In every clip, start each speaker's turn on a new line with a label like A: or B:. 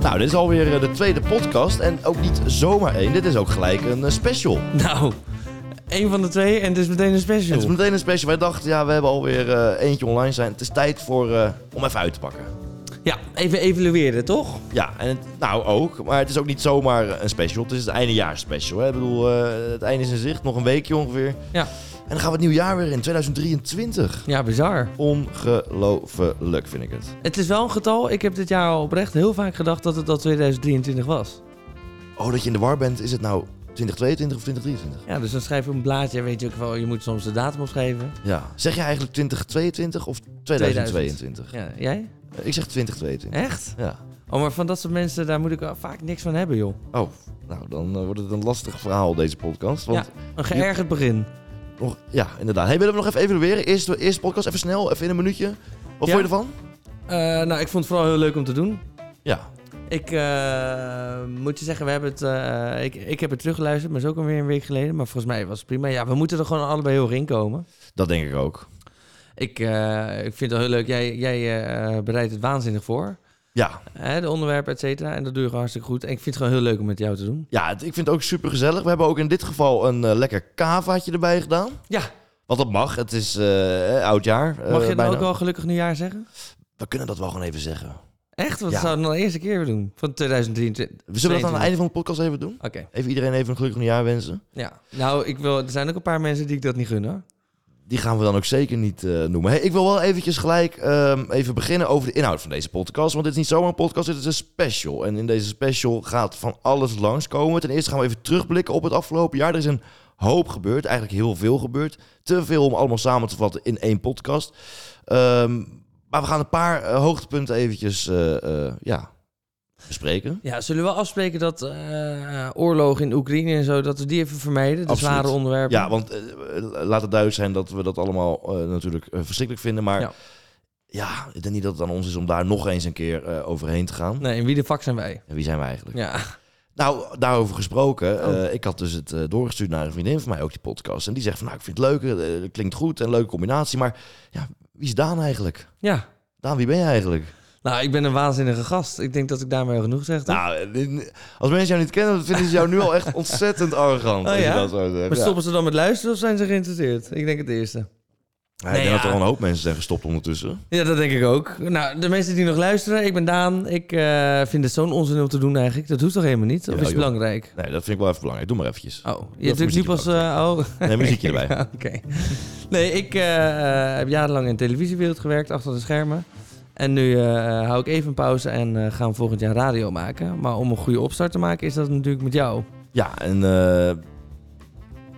A: Nou, dit is alweer eh, de tweede podcast en ook niet zomaar één. Dit is ook gelijk een eh, special.
B: Nou, één van de twee en het is meteen een
A: Het
B: special.
A: is meteen een special. Wij dachten, ja, we hebben alweer eh, eentje online zijn. Het is tijd voor, eh, om even uit te pakken.
B: Ja, even evalueren, toch?
A: Ja, en het- nou ook, maar het is ook niet zomaar eh, een special. Het is het eindejaarspecial. Hè? Ik bedoel, eh, het einde is in zicht, nog een weekje ongeveer.
B: Ja.
A: En dan gaan we het nieuwe jaar weer in, 2023.
B: Ja, bizar.
A: Ongelooflijk vind ik het.
B: Het is wel een getal, ik heb dit jaar al oprecht heel vaak gedacht dat het al 2023 was.
A: Oh, dat je in de war bent, is het nou 2022 of 2023?
B: Ja, dus dan schrijf je op een blaadje, weet je ook wel, je moet soms de datum opschrijven.
A: Ja. Zeg je eigenlijk 2022 of 2022?
B: Ja, jij?
A: Ik zeg 2022.
B: Echt?
A: Ja.
B: Oh, maar van dat soort mensen, daar moet ik wel vaak niks van hebben, joh.
A: Oh, nou dan eh, wordt het een lastig verhaal deze podcast. Want
B: Een geërgerd begin.
A: Nog, ja, inderdaad. Hey, willen we nog even evalueren? Eerst de eerste podcast, even snel, even in een minuutje. Wat
B: Ja.
A: vond je ervan?
B: Eh, nou, ik vond het vooral heel leuk om te doen.
A: Ja.
B: Ik eh, moet je zeggen, we hebben het, eh, ik, ik heb het teruggeluisterd, maar is ook alweer een week geleden. Maar volgens mij was het prima. Ja, we moeten er gewoon allebei heel erg in komen.
A: Dat denk ik ook.
B: Ik, eh, ik vind het heel leuk. Jij, jij eh, bereidt het waanzinnig voor.
A: Ja,
B: Hè, de onderwerpen, et cetera. En dat doe je gewoon hartstikke goed. En ik vind het gewoon heel leuk om met jou te doen.
A: ja het- ik vind het ook super gezellig. We hebben ook in dit geval een eh, lekker kavaatje erbij gedaan.
B: Ja,
A: Want dat mag, het is eh, eh, oud jaar. eh,
B: mag je dan
A: bijna.
B: ook wel gelukkig nieuwjaar zeggen?
A: We kunnen dat wel gewoon even zeggen.
B: Echt? Want
A: Ja.
B: dat zouden we dan de eerste keer weer doen. Van 2023.
A: We zullen dat aan het
B: 22.
A: einde van de podcast even doen.
B: Oké,
A: Even iedereen even een gelukkig nieuwjaar wensen.
B: ja. Nou, ik wil, er zijn ook een paar mensen die ik dat niet gun, hoor.
A: Die gaan we dan ook zeker niet eh, noemen. Hey, ik wil wel eventjes gelijk ehm, even beginnen over de inhoud van deze podcast. Want dit is niet zomaar een podcast, dit is een special. En in deze special gaat van alles langskomen. Ten eerste gaan we even terugblikken op het afgelopen jaar. Er is een hoop gebeurd, eigenlijk heel veel gebeurd. Te veel om allemaal samen te vatten in één podcast. Ehm, maar we gaan een paar eh, hoogtepunten eventjes eh, eh, ja, bespreken.
B: Ja, zullen we wel afspreken dat eh oorlog in Oekraïne en zo, dat we die even vermijden? De
A: Absoluut.
B: zware onderwerpen.
A: Ja, want eh, laat het duidelijk zijn dat we dat allemaal eh, natuurlijk eh, verschrikkelijk vinden. Maar ja.
B: Ja.
A: ik denk niet dat het aan ons is om daar nog eens een keer eh, overheen te gaan.
B: Nee, en wie de fuck zijn wij?
A: En wie zijn we eigenlijk?
B: Ja.
A: Nou, daarover gesproken.
B: Oh.
A: eh, ik had dus het eh, doorgestuurd naar een vriendin van mij, ook die podcast. En die zegt van, nou, ik vind het leuk, eh, het klinkt goed, een leuke combinatie. Maar ja, wie is Daan eigenlijk?
B: ja.
A: Daan, wie ben je eigenlijk?
B: Nou, ik ben een waanzinnige gast. Ik denk dat ik daarmee al genoeg zeg. toch?
A: Nou, eh, als mensen jou niet kennen, dan vinden ze jou nu al echt ontzettend arrogant.
B: Oh
A: als je
B: ja?
A: dat zo zegt.
B: maar
A: Ja.
B: stoppen ze dan met luisteren of zijn ze geïnteresseerd? Ik denk het eerste.
A: Ja, ik
B: Nee,
A: denk dat
B: ja.
A: er al een hoop mensen zijn gestopt ondertussen.
B: Ja, dat denk ik ook. Nou, de mensen die nog luisteren, ik ben Daan. Ik eh, vind het zo'n onzin om te doen eigenlijk. Dat hoeft toch helemaal niet? Of
A: Jawel,
B: is het
A: joh.
B: belangrijk?
A: Nee, dat vind ik wel even belangrijk. Doe maar eventjes.
B: Oh, je
A: even
B: drukt nu
A: muziekje
B: pas...
A: erbij.
B: eh, oh.
A: Nee, muziekje erbij.
B: Oké. Nee, ik eh, eh, heb jarenlang in de televisiewereld gewerkt, achter de schermen. En nu eh, hou ik even een pauze en eh, gaan we volgend jaar radio maken. Maar om een goede opstart te maken is dat natuurlijk met jou.
A: Ja, en eh,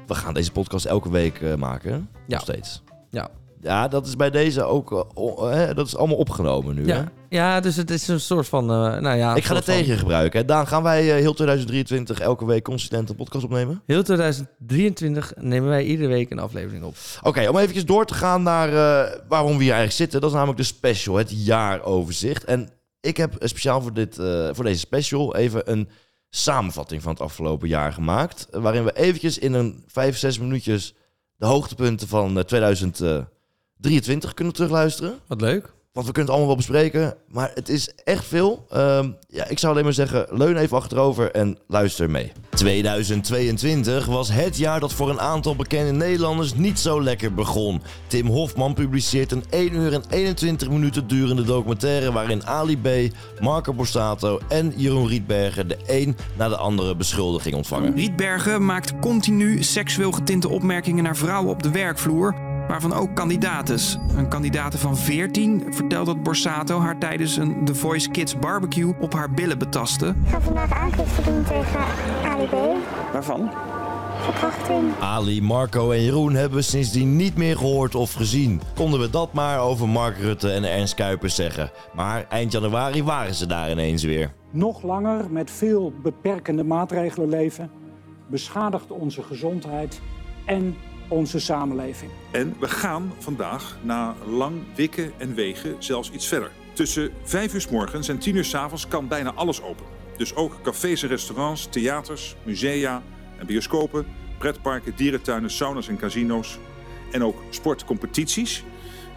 A: we gaan deze podcast elke week eh, maken. hè? Nog steeds.
B: Ja.
A: Ja, dat is bij deze ook. eh, o- hè, dat is allemaal opgenomen nu. Hè?
B: Ja, ja, dus het is een soort van... eh, nou ja, een
A: Ik ga dat
B: soort van-
A: tegen je gebruiken. Hè? Daan, gaan wij eh, heel 2023 elke week consistent een podcast opnemen?
B: Heel 2023 nemen wij iedere week een aflevering op.
A: Oké, om eventjes door te gaan naar eh, waarom we hier eigenlijk zitten. Dat is namelijk de special, het jaaroverzicht. En ik heb speciaal voor, dit, eh, voor deze special even een samenvatting van het afgelopen jaar gemaakt. eh, Waarin we eventjes in een 5, 6 minuutjes de hoogtepunten van eh, 2023 kunnen terugluisteren.
B: Wat leuk.
A: Want we kunnen het allemaal wel bespreken, maar het is echt veel. Ehm, ja, ik zou alleen maar zeggen, leun even achterover en luister mee. 2022 was het jaar dat voor een aantal bekende Nederlanders niet zo lekker begon. Tim Hofman publiceert een 1 uur en 21 minuten durende documentaire... waarin Ali B, Marco Borsato en Jeroen Rietbergen de een na de andere beschuldiging ontvangen.
C: Rietbergen maakt continu seksueel getinte opmerkingen naar vrouwen op de werkvloer, waarvan ook kandidates. Een kandidate van 14 vertelt dat Borsato haar tijdens een The Voice Kids barbecue op haar billen betastte.
D: Ik ga vandaag aangifte doen tegen ADB,
C: Waarvan?
D: verkrachting.
A: Ali, Marco en Jeroen hebben we sindsdien niet meer gehoord of gezien. Konden we dat maar over Mark Rutte en Ernst Kuipers zeggen. Maar eind januari waren ze daar ineens weer.
E: nog langer met veel beperkende maatregelen leven, beschadigt onze gezondheid en onze samenleving.
F: En we gaan vandaag na lang wikken en wegen zelfs iets verder. Tussen 5 uur 's morgens en 10 uur 's avonds kan bijna alles open. Dus ook cafés en restaurants, theaters, musea en bioscopen pretparken, dierentuinen, sauna's en casino's. En ook sportcompetities.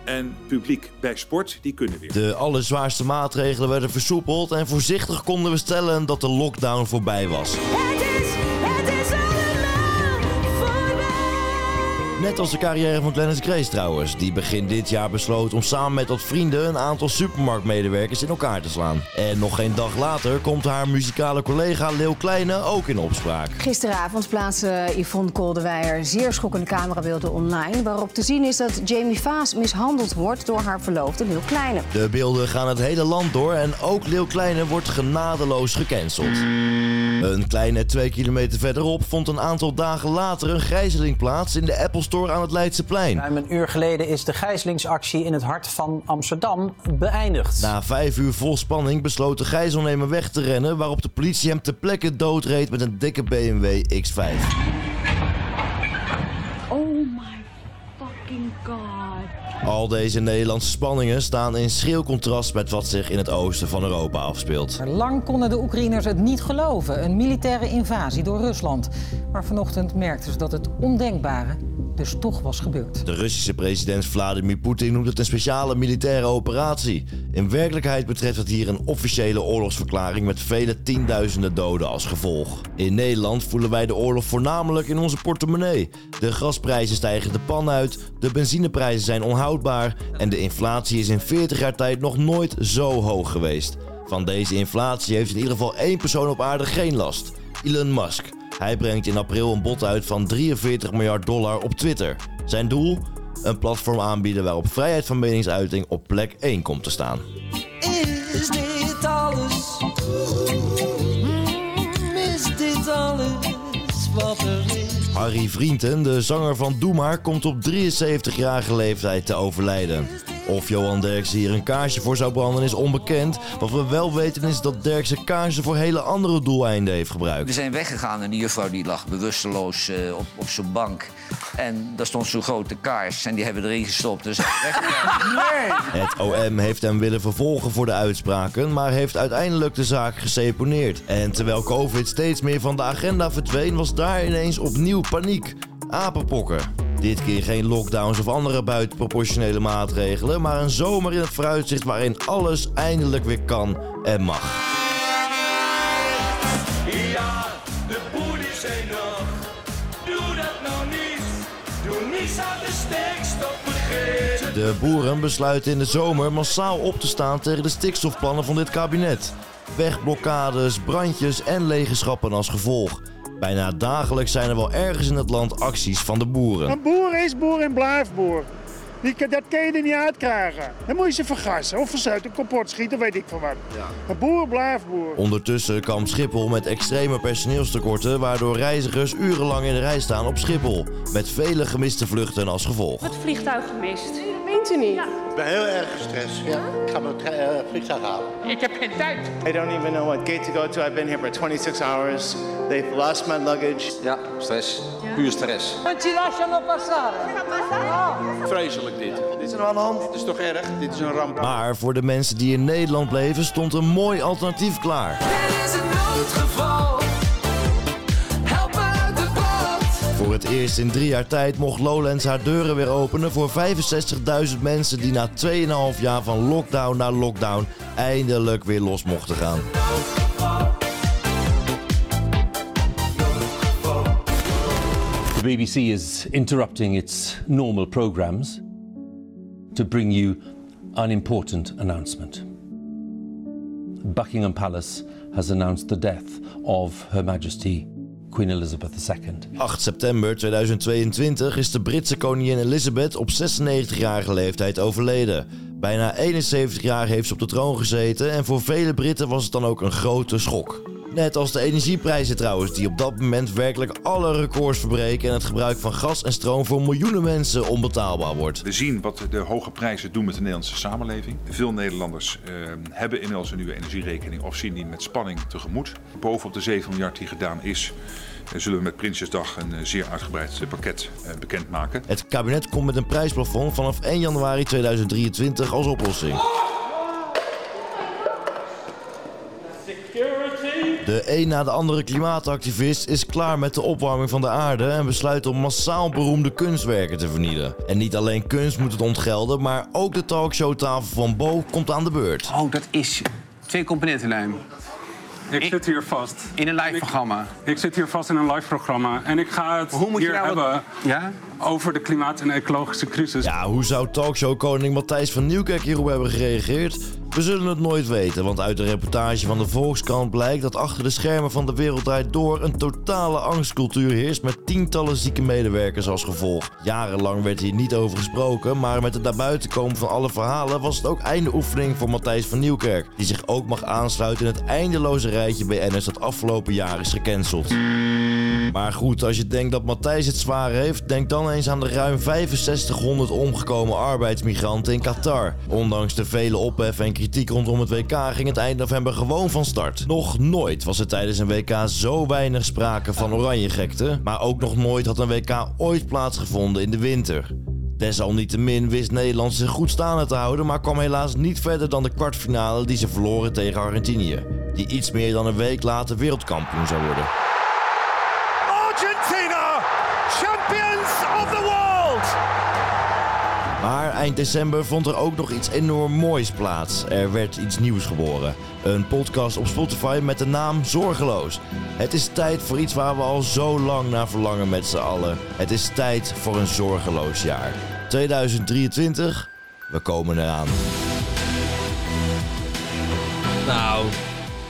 F: En publiek bij sport, die kunnen weer.
A: De allerzwaarste maatregelen werden versoepeld en voorzichtig konden we stellen dat de lockdown voorbij was.
G: Het is, het is allemaal voorbij.
A: Net als de carrière van Glennis Grace trouwens, die begin dit jaar besloot om samen met wat vrienden een aantal supermarktmedewerkers in elkaar te slaan. En nog geen dag later komt haar muzikale collega Leeuw Kleine ook in opspraak.
H: Gisteravond plaatste Yvonne Koldewijer zeer schokkende camerabeelden online... waarop te zien is dat Jamie Vaas mishandeld wordt door haar verloofde Leeuw Kleine.
A: De beelden gaan het hele land door en ook Leeuw Kleine wordt genadeloos gecanceld. Een kleine twee kilometer verderop vond een aantal dagen later een gijzeling plaats in de Apple Store aan het Leidseplein.
I: Ruim een uur geleden is de gijzelingsactie in het hart van Amsterdam beëindigd.
A: Na vijf uur vol spanning besloot de gijzelnemer weg te rennen, waarop de politie hem ter plekke doodreed met een dikke BMW X5.
G: Oh my fucking god.
A: Al deze Nederlandse spanningen staan in schril contrast met wat zich in het oosten van Europa afspeelt.
J: Maar lang konden de Oekraïners het niet geloven, een militaire invasie door Rusland. Maar vanochtend merkten ze dat het ondenkbare dus toch was gebeurd.
A: De Russische president Vladimir Poetin noemt het een speciale militaire operatie. In werkelijkheid betreft het hier een officiële oorlogsverklaring met vele tienduizenden doden als gevolg. In Nederland voelen wij de oorlog voornamelijk in onze portemonnee. De gasprijzen stijgen de pan uit, de benzineprijzen zijn onhoudbaar en de inflatie is in 40 jaar tijd nog nooit zo hoog geweest. Van deze inflatie heeft in ieder geval één persoon op aarde geen last: Elon Musk. Hij brengt in april een bod uit van 43 miljard dollar op Twitter. Zijn doel? Een platform aanbieden waarop vrijheid van meningsuiting op plek 1 komt te staan.
G: Is dit alles? Mm, Is dit alles wat er is?
A: Harry Vrienten, de zanger van Doe Maar, komt op 73-jarige leeftijd te overlijden. Of Johan Derksen hier een kaarsje voor zou branden is onbekend. Wat we wel weten is dat Derksen kaarsen voor hele andere doeleinden heeft
K: We
A: gebruikt.
K: zijn weggegaan en die juffrouw die lag bewusteloos eh, op, op zijn bank. En daar stond zo'n grote kaars en die hebben we erin gestopt. Dus weggegaan.
A: Het OM heeft hem willen vervolgen voor de uitspraken, maar heeft uiteindelijk de zaak geseponeerd. En terwijl COVID steeds meer van de agenda verdween, was daar ineens opnieuw paniek. Apenpokken. Dit keer geen lockdowns of andere buitenproportionele maatregelen, maar een zomer in het vooruitzicht waarin alles eindelijk weer kan en mag.
G: Ja, de boeren zijn nog. Doe dat nou niet. Doe niets aan de stikstof vergeten.
A: De boeren besluiten in de zomer massaal op te staan tegen de stikstofplannen van dit kabinet. Wegblokkades, brandjes en legenschappen als gevolg. Bijna dagelijks zijn er wel ergens in het land acties van de boeren.
L: Een boer is boer en blijft boer. Die, kan- dat kun je er niet uitkrijgen. Dan moet je ze vergassen of verzuiten, kapot schieten, weet ik van wat. Een boer blijft boer.
A: Ondertussen kampt Schiphol met extreme personeelstekorten, waardoor reizigers urenlang in de rij staan op Schiphol. Met vele gemiste vluchten als gevolg.
G: Het vliegtuig gemist.
L: Ik ben heel erg gestrest. Ik ga mijn eh, vliegtuig halen.
G: Ik heb geen tijd.
L: I don't even know what gate to go to. I've been here for 26 hours. They've lost my luggage.
K: ja, stress. Puur stress.
F: Vreselijk dit. Dit is is toch erg? Dit is een ramp.
A: Maar voor de mensen die in Nederland bleven stond een mooi alternatief klaar.
G: Er is een noodgeval. Help me uit de boot.
A: Voor het eerst in drie jaar tijd mocht Lowlands haar deuren weer openen voor 65.000 mensen die na 2,5 jaar van lockdown naar lockdown eindelijk weer los mochten gaan.
M: The BBC is interrupting its normal programmes to bring you an important announcement. Buckingham Palace has announced the death of Her Majesty Queen Elizabeth II.
A: 8 september 2022 is de Britse koningin Elizabeth op 96-jarige leeftijd overleden. Bijna 71 jaar heeft ze op de troon gezeten en voor vele Britten was het dan ook een grote schok. Net als de energieprijzen trouwens, die op dat moment werkelijk alle records verbreken en het gebruik van gas en stroom voor miljoenen mensen onbetaalbaar wordt.
F: We zien wat de hoge prijzen doen met de Nederlandse samenleving. Veel Nederlanders eh, hebben inmiddels een nieuwe energierekening of zien die met spanning tegemoet. Bovenop de 7 miljard die gedaan is, eh, zullen we met Prinsjesdag een eh, zeer uitgebreid eh, pakket eh, bekendmaken.
A: Het kabinet komt met een prijsplafond vanaf 1 januari 2023 als oplossing. De een na de andere klimaatactivist is klaar met de opwarming van de aarde en besluit om massaal beroemde kunstwerken te vernielen. En niet alleen kunst moet het ontgelden, maar ook de talkshowtafel van Bo komt aan de beurt.
N: Oh, dat is twee componenten lijm.
O: Ik, zit hier vast.
N: In een live programma.
O: Ik zit hier vast in een live programma. En ik ga het
N: Hoe moet je
O: hier
N: nou wat-
O: hebben over de klimaat- en ecologische crisis.
P: Dus
A: Ja, hoe zou talkshow-koning Matthijs van Nieuwkerk hierop hebben gereageerd? We zullen het nooit weten, want uit de reportage van de Volkskrant blijkt dat achter de schermen van de wereld draait door een totale angstcultuur heerst met tientallen zieke medewerkers als gevolg. Jarenlang werd hier niet over gesproken, maar met het naar buiten komen van alle verhalen was het ook einde oefening voor Matthijs van Nieuwkerk, die zich ook mag aansluiten in het eindeloze rijtje BN'ers dat afgelopen jaar is gecanceld. Maar goed, als je denkt dat Matthijs het zwaar heeft, denk dan eens aan de ruim 6500 omgekomen arbeidsmigranten in Qatar. Ondanks de vele ophef en kritiek rondom het WK ging het eind november gewoon van start. Nog nooit was er tijdens een WK zo weinig sprake van oranjegekte, maar ook nog nooit had een WK ooit plaatsgevonden in de winter. Desalniettemin wist Nederland zich goed staande te houden, maar kwam helaas niet verder dan de kwartfinale die ze verloren tegen Argentinië, die iets meer dan een week later wereldkampioen zou worden.
G: Argentina, champions of the world!
A: Maar eind december vond er ook nog iets enorm moois plaats. Er werd iets nieuws geboren. Een podcast op Spotify met de naam Zorgeloos. Het is tijd voor iets waar we al zo lang naar verlangen met z'n allen. Het is tijd voor een zorgeloos jaar. 2023, we komen eraan.
B: Nou.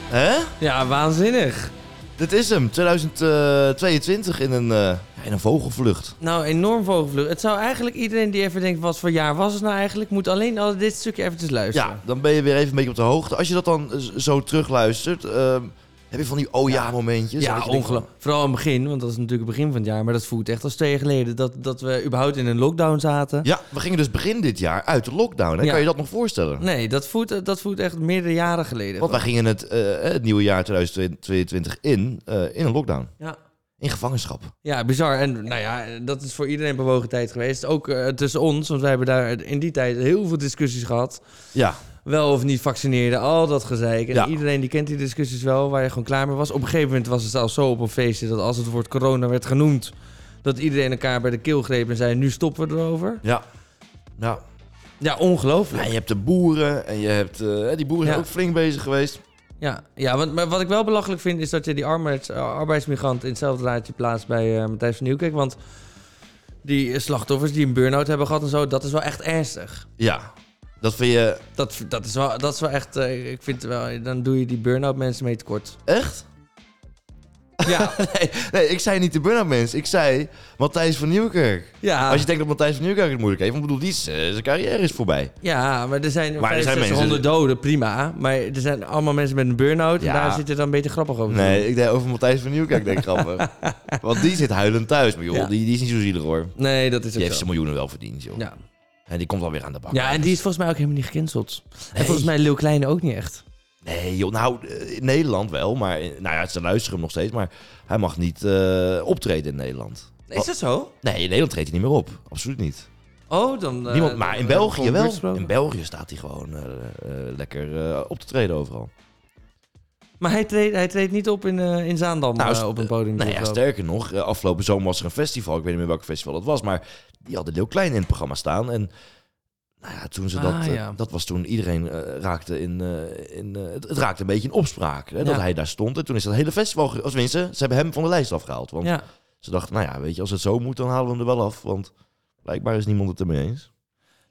A: Hè?
B: Ja, waanzinnig.
A: Dit is hem, 2022 in een, eh, ja, in een vogelvlucht.
B: Nou, enorm vogelvlucht. Het zou eigenlijk iedereen die even denkt, wat voor jaar was het nou eigenlijk, moet alleen al dit stukje eventjes luisteren.
A: Ja, dan ben je weer even een beetje op de hoogte. Als je dat dan eh, zo terugluistert, ehm, heb je van die oh ja momentjes.
B: Ja, ongelooflijk. Vooral aan het begin, want dat is natuurlijk het begin van het jaar. Maar dat voelt echt als twee jaar geleden dat, dat we überhaupt in een lockdown zaten.
A: Ja, we gingen dus begin dit jaar uit de lockdown. Hè?
B: Ja.
A: Kan je dat nog voorstellen?
B: Nee, dat voelt, eh, dat voelt echt meerdere jaren geleden.
A: Want wij
B: gewoon.
A: gingen het, eh, het nieuwe jaar 2022 in, eh, in een lockdown.
B: Ja.
A: In gevangenschap.
B: Ja, bizar. En nou ja, dat is voor iedereen een bewogen tijd geweest. Ook eh, tussen ons, want wij hebben daar in die tijd heel veel discussies gehad.
A: Ja.
B: Wel of niet vaccineren, al dat gezeik. En
A: Ja.
B: iedereen die kent die discussies wel, waar je gewoon klaar mee was. Op een gegeven moment was het zelfs zo op een feestje dat als het woord corona werd genoemd, dat iedereen elkaar bij de keel greep en zei: nu stoppen we erover.
A: Ja. Ja.
B: Ja, ongelooflijk.
A: En je hebt de boeren en je hebt... eh, die boeren zijn
B: Ja.
A: ook flink bezig geweest.
B: Ja, ja want, maar wat ik wel belachelijk vind is dat je die arbeids, eh, arbeidsmigrant in hetzelfde raadje plaatst bij eh Matthijs van Nieuwkerk. Want die slachtoffers die een burn-out hebben gehad en zo, dat is wel echt ernstig.
A: Ja. Dat vind je...
B: Dat, dat, is, wel, dat is wel echt, eh, ik vind wel, dan doe je die burn-out mensen mee tekort.
A: Echt?
B: Ja.
A: nee, nee, ik zei niet de burn-out mens. Ik zei Matthijs van Nieuwkerk.
B: Ja.
A: Als je denkt dat Matthijs van Nieuwkerk het moeilijk heeft. Want ik bedoel, die is, eh, zijn carrière is voorbij.
B: Ja, maar er zijn
A: Maar er zijn
B: 6500 doden, prima. Maar er zijn allemaal mensen met een burn-out
A: Ja.
B: en daar zit het dan een beetje grappig over. te
A: Nee,
B: doen.
A: ik deed over Matthijs van Nieuwkerk, denk ik grappig. Want die zit huilend thuis. Maar joh,
B: Ja.
A: die, die is niet zo zielig hoor.
B: Nee, dat is ook
A: Die heeft
B: zo.
A: zijn miljoenen wel verdiend, joh.
B: Ja.
A: En die komt alweer aan de bak.
B: Ja, en die is volgens mij ook helemaal niet gecanceld. En volgens mij Leeuw Kleine ook niet echt.
A: Nee, joh, nou, eh, in Nederland wel, maar eh, nou ja, ze luisteren hem nog steeds, maar hij mag niet eh, optreden in Nederland.
B: Is dat zo?
A: Nee, in Nederland treedt hij niet meer op. Absoluut niet.
B: Oh, dan... eh,
A: Niemand, maar in
B: dan-
A: België
B: gewoon
A: wel.
B: buurtsproken.
A: In België staat hij gewoon eh, eh, lekker eh, op te treden overal.
B: Maar hij treedt, hij treedt niet op in, eh, in Zaandam
A: Nou,
B: eh, op een podium.
A: Nou ja,
B: bijvoorbeeld.
A: sterker nog, eh, afgelopen zomer was er een festival. Ik weet niet meer welk festival dat was, maar die hadden heel klein in het programma staan. En nou ja, toen ze dat,
B: Ah,
A: eh,
B: ja.
A: dat was toen iedereen eh, raakte in, eh, in eh, het, het raakte een beetje in opspraak. Hè, Dat
B: Ja.
A: hij daar stond. En toen is dat hele festival, ge- of tenminste, ze hebben hem van de lijst afgehaald. Want
B: Ja.
A: ze dachten, nou ja, weet je, als het zo moet, dan halen we hem er wel af. Want blijkbaar is niemand het ermee eens.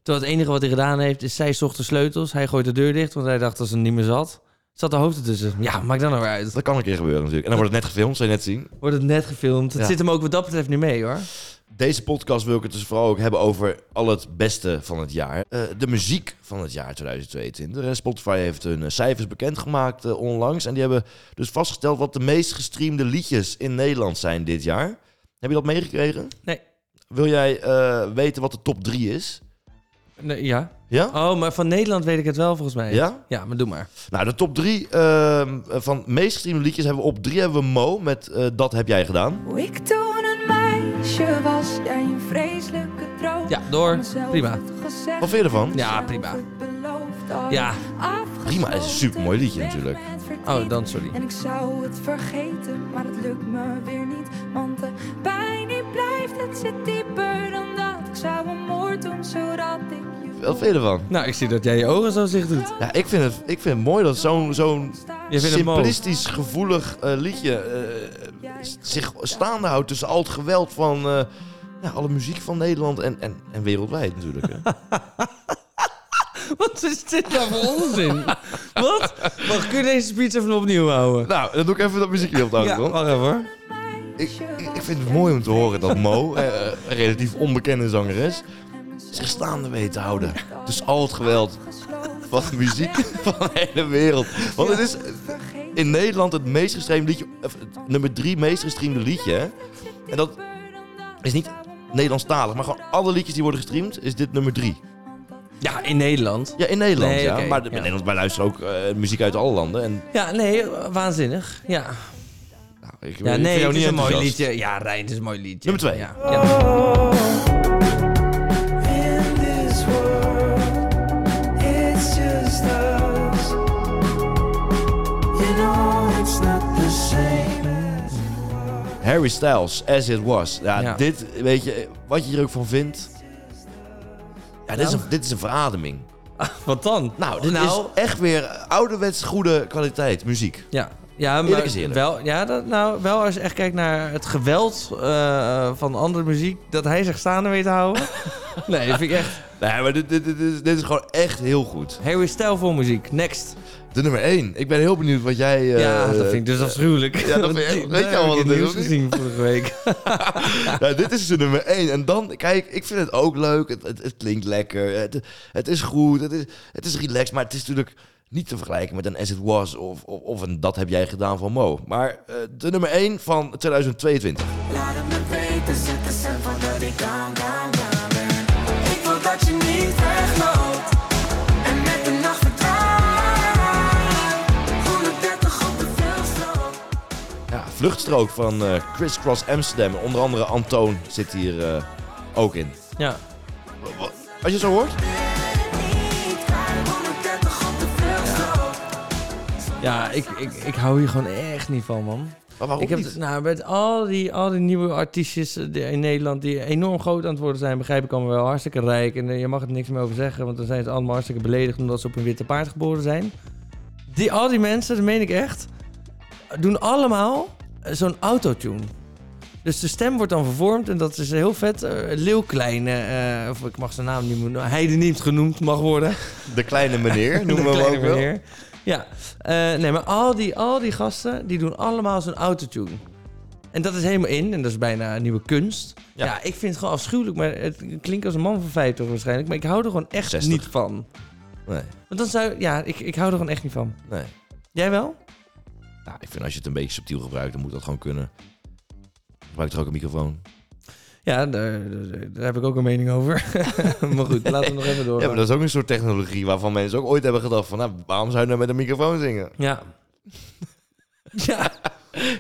B: Terwijl het enige wat hij gedaan heeft, is zij zocht de sleutels. Hij gooit de deur dicht, want hij dacht dat ze hem niet meer zat. Zat de hoofd ertussen. Ja, maakt dan nou weer uit.
A: Dat kan een keer gebeuren natuurlijk. En dan wordt het net gefilmd, zou je net zien.
B: Wordt het net gefilmd. Het
A: Ja.
B: zit hem ook wat dat betreft niet mee, hoor.
A: Deze podcast wil ik het dus vooral ook hebben over al het beste van het jaar. Eh, de muziek van het jaar 2022. Eh, Spotify heeft hun eh, cijfers bekendgemaakt eh, onlangs. En die hebben dus vastgesteld wat de meest gestreamde liedjes in Nederland zijn dit jaar. Heb je dat meegekregen?
B: Nee.
A: Wil jij eh, weten wat de top 3 is?
B: Nee, ja.
A: Ja?
B: Oh, maar van Nederland weet ik het wel, volgens mij.
A: Ja?
B: Ja, maar doe maar.
A: Nou, de top 3 ehm, van meest gestreamde liedjes hebben we op 3 hebben we Mo met eh, Dat heb jij gedaan.
Q: Hoe ik toen een meisje was, jij een vreselijke droom.
B: Ja, door. Prima.
A: Wat vind je ervan?
B: Ja, prima. Ja.
A: Prima, het is een super mooi liedje natuurlijk.
Q: verdriet.
B: Oh, dan sorry.
Q: En ik zou het vergeten, maar het lukt me weer niet. Want de pijn die blijft, het zit dieper dan dat. Ik zou een moord doen, zodat ik
A: Wat vind je ervan?
B: Nou, ik zie dat jij je ogen zo zicht doet.
A: Ja, ik vind het, ik vind het mooi dat zo'n zo'n
B: vindt het mooi.
A: simplistisch gevoelig eh, liedje eh, s- zich staande houdt tussen al het geweld van eh, ja, alle muziek van Nederland en, en, en wereldwijd natuurlijk. Hè.
B: Wat is dit nou voor onzin? Wat? Wacht, kun je deze speech even opnieuw houden?
A: Nou, dan doe ik even dat muziekje op de achtergrond.
B: Ja, wacht even hoor.
A: Ik, ik, ik vind het mooi om te horen dat Mo, eh, eh, een relatief onbekende zangeres, zich staande weet te houden. Dus al het geweld van de muziek van de hele wereld. Want het is in Nederland het meest gestreamde liedje, of het nummer drie meest gestreamde liedje. hè. En dat is niet Nederlandstalig, maar gewoon alle liedjes die worden gestreamd, is dit nummer drie.
B: Ja, in Nederland.
A: Ja, in Nederland,
B: Nee,
A: ja.
B: oké,
A: maar de-
B: ja.
A: in Nederland, wij luisteren ook eh, muziek uit alle landen. En,
B: Ja, nee, waanzinnig. Ja.
A: nou, ik,
B: Ja,
A: ik vind
B: nee,
A: jou
B: het is
A: niet
B: een mooi
A: enthousiast.
B: liedje. Ja, Rijn, het is een mooi liedje.
A: Nummer twee. Oh.
B: Ja. ja.
G: In this world, it's just us. You know it's not the same.
A: Harry Styles, As It Was. Ja,
B: Ja.
A: dit, weet je, wat je hier ook van vindt. Ja, dit, is een, dit is een verademing.
B: Wat dan?
A: Nou, dit
B: Nou.
A: is echt weer ouderwets goede kwaliteit muziek.
B: Ja. Ja, maar
A: Eerlijk is eerlijk.
B: Wel, ja dat, nou, wel als je echt kijkt naar het geweld eh, van andere muziek, dat hij zich staande weet te houden. nee, dat vind ik echt.
A: Nee, maar dit, dit, dit, is, dit is gewoon echt heel goed.
B: Harry Stijlvol muziek, next.
A: De nummer 1. Ik ben heel benieuwd wat jij... eh,
B: ja, dat vind ik dus
A: eh,
B: afschuwelijk.
A: Ja, dat
B: Want
A: vind
B: die-
A: ik, weet
B: daar
A: je al
B: heb
A: wat
B: ik
A: het is?
B: nieuws
A: of niet?
B: gezien vorige week.
A: Ja, dit is dus de nummer 1. En dan, kijk, ik vind het ook leuk. Het, het, het klinkt lekker. Het, het is goed. Het is, het is relaxed. Maar het is natuurlijk niet te vergelijken met een As It Was of, of, of een Dat Heb Jij Gedaan van Mo. Maar eh, de nummer 1 van 2022.
G: Laat het me weten, zet de cent van dat ik down, down, down ben. Ik wil dat je niet wegloopt en met de nacht verdwijnt. 130 op de veldstrook.
A: Ja, vluchtstrook van eh Criss Cross Amsterdam. Onder andere Antoon zit hier eh, ook in.
B: Ja.
A: Als je zo hoort.
B: Ja, ik, ik, ik hou hier gewoon echt niet van, man.
A: Maar waarom
B: ik heb
A: niet?
B: het- nou, met al die, al die nieuwe artiestjes eh, die in Nederland die enorm groot aan het worden zijn, begrijp ik allemaal wel, hartstikke rijk. En eh, je mag er niks meer over zeggen, want dan zijn ze allemaal hartstikke beledigd omdat ze op een witte paard geboren zijn. Die, al die mensen, dat meen ik echt, doen allemaal eh, zo'n autotune. Dus de stem wordt dan vervormd en dat is heel vet. Eh, Leeuw Kleine, eh, of ik mag zijn naam niet noemen, Heide niet genoemd mag worden.
A: De kleine meneer noemen
B: nou- De
A: we hem
B: kleine
A: ook wel.
B: meneer. Ja, Eh, nee, maar al die, al die gasten, die doen allemaal zo'n autotune. En dat is helemaal in en dat is bijna een nieuwe kunst. Ja, ik vind het gewoon afschuwelijk, maar het klinkt als een man van 50 waarschijnlijk. Maar ik hou er gewoon echt
A: 60.
B: niet van.
A: Nee,
B: Want dan zou, ja, ik, ik hou er gewoon echt niet van.
A: nee.
B: Jij wel?
A: Ja, ik vind als je het een beetje subtiel gebruikt, dan moet dat gewoon kunnen. Gebruik toch ook een microfoon?
B: Ja, daar, daar- daar heb ik ook een mening over. maar goed, laten we nog even door.
A: Ja, maar dat is ook een soort technologie waarvan mensen ook ooit hebben gedacht van... Nou, waarom zou je nou met een microfoon zingen?
B: Ja. ja.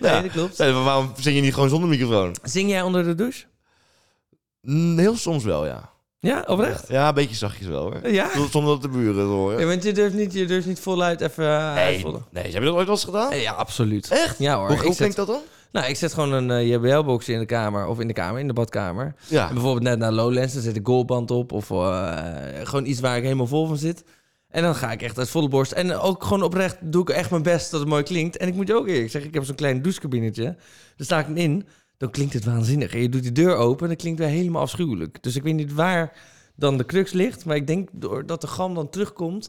A: Ja.
B: Nee, dat klopt.
A: Nee, maar waarom zing je niet gewoon zonder microfoon?
B: Zing jij onder de douche?
A: Mm, heel soms wel, ja.
B: Ja, oprecht?
A: Ja, een beetje zachtjes wel, hoor.
B: Ja?
A: Zonder- Zonder dat de buren het horen.
B: Ja, want je durft niet, je durft niet voluit even eh,
A: nee,
B: uitvoelen.
A: nee, heb je dat ooit wel eens gedaan?
B: Eh, Ja, absoluut.
A: Echt?
B: Ja hoor.
A: Hoe,
B: Ik
A: hoe
B: zet-
A: klinkt dat dan?
B: Nou, ik zet gewoon een JBL-box in de kamer. Of in de kamer, in de badkamer.
A: Ja.
B: En bijvoorbeeld net naar Lowlands, dan zet ik goalband op. Of eh, gewoon iets waar ik helemaal vol van zit. En dan ga ik echt uit volle borst. En ook gewoon oprecht doe ik echt mijn best dat het mooi klinkt. En ik moet je ook eerlijk zeggen, ik heb zo'n klein douchekabinetje. Daar sta ik in, dan klinkt het waanzinnig. En je doet die deur open, dan klinkt het weer helemaal afschuwelijk. Dus ik weet niet waar dan de crux ligt. Maar ik denk doordat de gam dan terugkomt...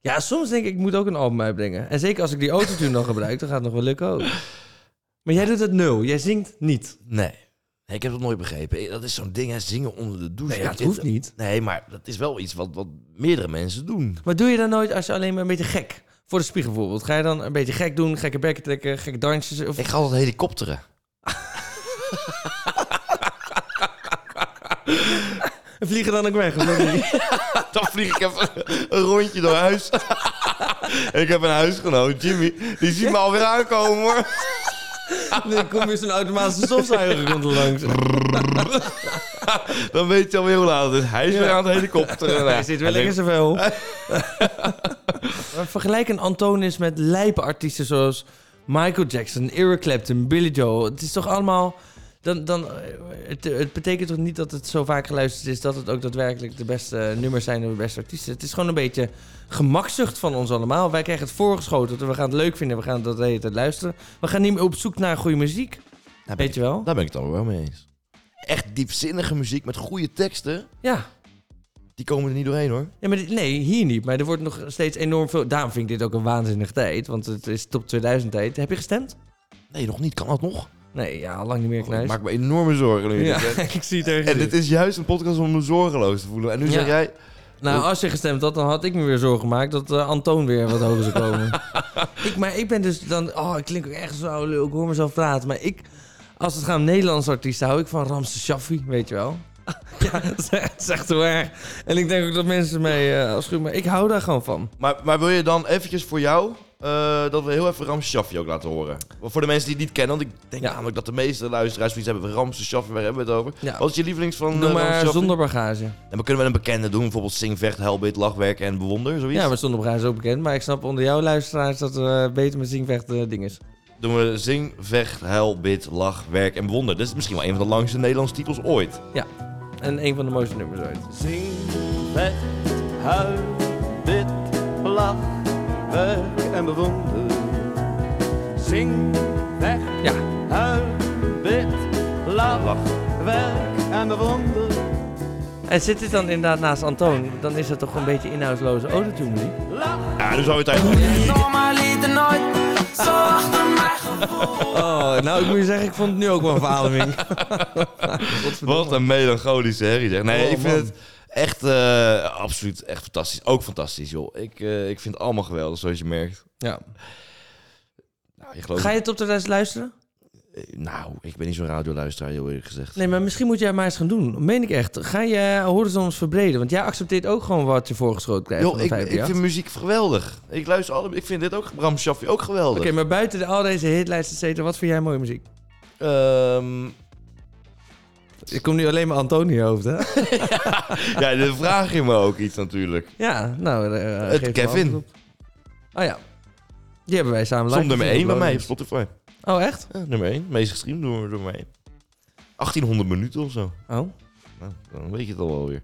B: Ja, soms denk ik, ik moet ook een album uitbrengen. En zeker als ik die autotune dan gebruik, dan gaat het nog wel lukken ook. Maar jij doet het nul. Jij zingt niet.
A: Nee. Nee, ik heb dat nooit begrepen. Eh, Dat is zo'n ding, hè, zingen onder de douche.
B: Nee, ja, het
A: Ik-
B: hoeft niet.
A: Nee, maar dat is wel iets wat, wat meerdere mensen doen.
B: Maar doe je dan nooit als je alleen maar een beetje gek... Voor de spiegel bijvoorbeeld. Ga je dan een beetje gek doen, gekke bekken trekken, gekke dansjes? Of...
A: Ik ga altijd helikopteren.
B: En vliegen dan ook weg? of dat niet?
A: Dan vlieg ik even een rondje door huis. En ik heb een huisgenoot, Jimmy. Die ziet me alweer aankomen hoor.
B: Dan kom je zo'n automatische stofzuiger komt er langs.
A: Dan weet je alweer hoe laat het is. Nou, Hij is weer aan het helikopteren.
B: Hij zit weer lekker zoveel. maar vergelijk een Antonis met lijpe artiesten zoals Michael Jackson, Eric Clapton, Billy Joel. Het is toch allemaal... Dan, dan, eh, het, het betekent toch niet dat het zo vaak geluisterd is... dat het ook daadwerkelijk de beste nummers zijn en de beste artiesten. Het is gewoon een beetje gemakzucht van ons allemaal. Wij krijgen het voorgeschoten. We gaan het leuk vinden. We gaan dat de hele tijd luisteren. We gaan niet meer op zoek naar goede muziek. Weet je wel?
A: nou, Daar ben ik het allemaal wel mee eens. Echt diepzinnige muziek met goede teksten.
B: Ja.
A: Die komen er niet doorheen hoor.
B: Ja, maar dit- nee, hier niet. Maar er wordt nog steeds enorm veel... Daarom vind ik dit ook een waanzinnige tijd. Want het is top 2000 tijd. Heb je gestemd?
A: Nee, nog niet. Kan dat nog?
B: Nee, ja, lang niet meer,
A: Ik
B: Knijs.
A: maak Oh, me enorme zorgen nu.
B: Ja,
A: Dit, hè.
B: ik zie het ergens
A: En
B: in.
A: dit is juist een podcast om me zorgeloos te voelen. En nu
B: Ja.
A: zeg jij...
B: Nou, als je gestemd had, dan had ik me weer zorgen gemaakt dat eh, Antoon weer wat hoger zou komen. ik, maar ik ben dus dan... Oh, ik klink ook echt zo leuk. Ik hoor mezelf praten. Maar ik... Als het gaat om Nederlandse artiesten, hou ik van Ramse Shaffi, weet je wel. ja, dat is echt- dat is echt heel erg. En ik denk ook dat mensen mij eh afschuwen. Maar ik hou daar gewoon van.
A: Maar, maar wil je dan eventjes voor jou... eh, dat we heel even Ramse Shaffi ook laten horen. Want Voor de mensen die het niet kennen, want ik denk namelijk dat de meeste luisteraars zoiets hebben. Ramse Shaffi, waar hebben we het over?
B: Ja.
A: Wat is je lievelings van
B: Doe
A: eh,
B: maar
A: Ramse Shaffi?
B: zonder bagage.
A: En we kunnen wel een bekende doen, bijvoorbeeld Sing, Vecht, Helbit, Lachwerken en Bewonder, zoiets.
B: Ja, maar zonder bagage is ook bekend. Maar ik snap onder jouw luisteraars dat er beter met zingvecht eh, ding is.
A: Doen we Zing, Vecht, Huil, Bid, Lach, Werk en Bewonder. Dat is misschien wel een van de langste Nederlandse titels ooit.
B: Ja, en een van de mooiste nummers ooit.
R: Zing, vecht, huil, bid, lach, werk en bewonder. Zing, vecht,
B: ja.
R: huil, bid, lach, werk en bewonder.
B: En zit dit dan inderdaad naast Antoon, dan is dat toch een beetje inhoudsloze ode toe muziek.
A: Ja, nu zou je het eigenlijk...
G: Normaliter nooit zo achter mij
B: Oh, nou ik moet je zeggen, ik vond het nu ook wel een verademing.
A: Wat een melancholische herrie zeg. Nee,
B: Oh,
A: ik vind
B: man.
A: het echt eh, absoluut echt fantastisch. Ook fantastisch joh. Ik, eh, ik vind het allemaal geweldig zoals je merkt.
B: Ja.
A: Nou, je gelooft...
B: Ga je het op de rest luisteren?
A: nou ik ben niet zo'n radioluisteraar heel eerlijk gezegd.
B: Nee, maar misschien moet jij het maar eens gaan doen. Meen ik echt. Ga je horizons verbreden? Want jij accepteert ook gewoon wat je voorgeschoten krijgt.
A: Joh,
B: van de
A: ik, ik
B: 538.
A: vind muziek geweldig. Ik luister alle... Ik vind dit ook, Bram Schaffi, ook
B: Oké,
A: geweldig.
B: maar buiten de, al deze hitlijsten, et cetera, wat vind jij mooie muziek?
A: Ehm,
B: Ik kom nu alleen maar Antoon in je hoofd, hè?
A: ja, dan vraag je me ook iets natuurlijk.
B: ja, nou... eh, geef
A: het
B: me
A: Kevin.
B: antwoord op. Oh ja. Die hebben wij samen
A: Stond
B: live
A: nummer 1 bij
B: gezien,
A: mij op
B: geloof ik.
A: Spotify.
B: Oh, echt?
A: Ja, nummer 1. Meest gestreamd door, door mij. 1800 minuten of zo.
B: Oh.
A: Nou, dan weet je het al wel weer.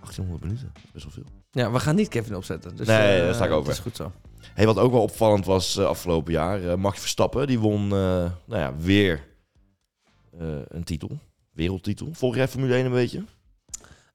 A: 1800 minuten, best wel veel.
B: Ja, we gaan niet Kevin opzetten. Dus,
A: nee,
B: eh,
A: daar sta ik over.
B: Dat is goed zo.
A: Hey, wat ook wel opvallend was eh, afgelopen jaar, eh, Max Verstappen, die won eh, nou ja, weer eh, een titel. Wereldtitel. Volg jij Formule 1 een beetje?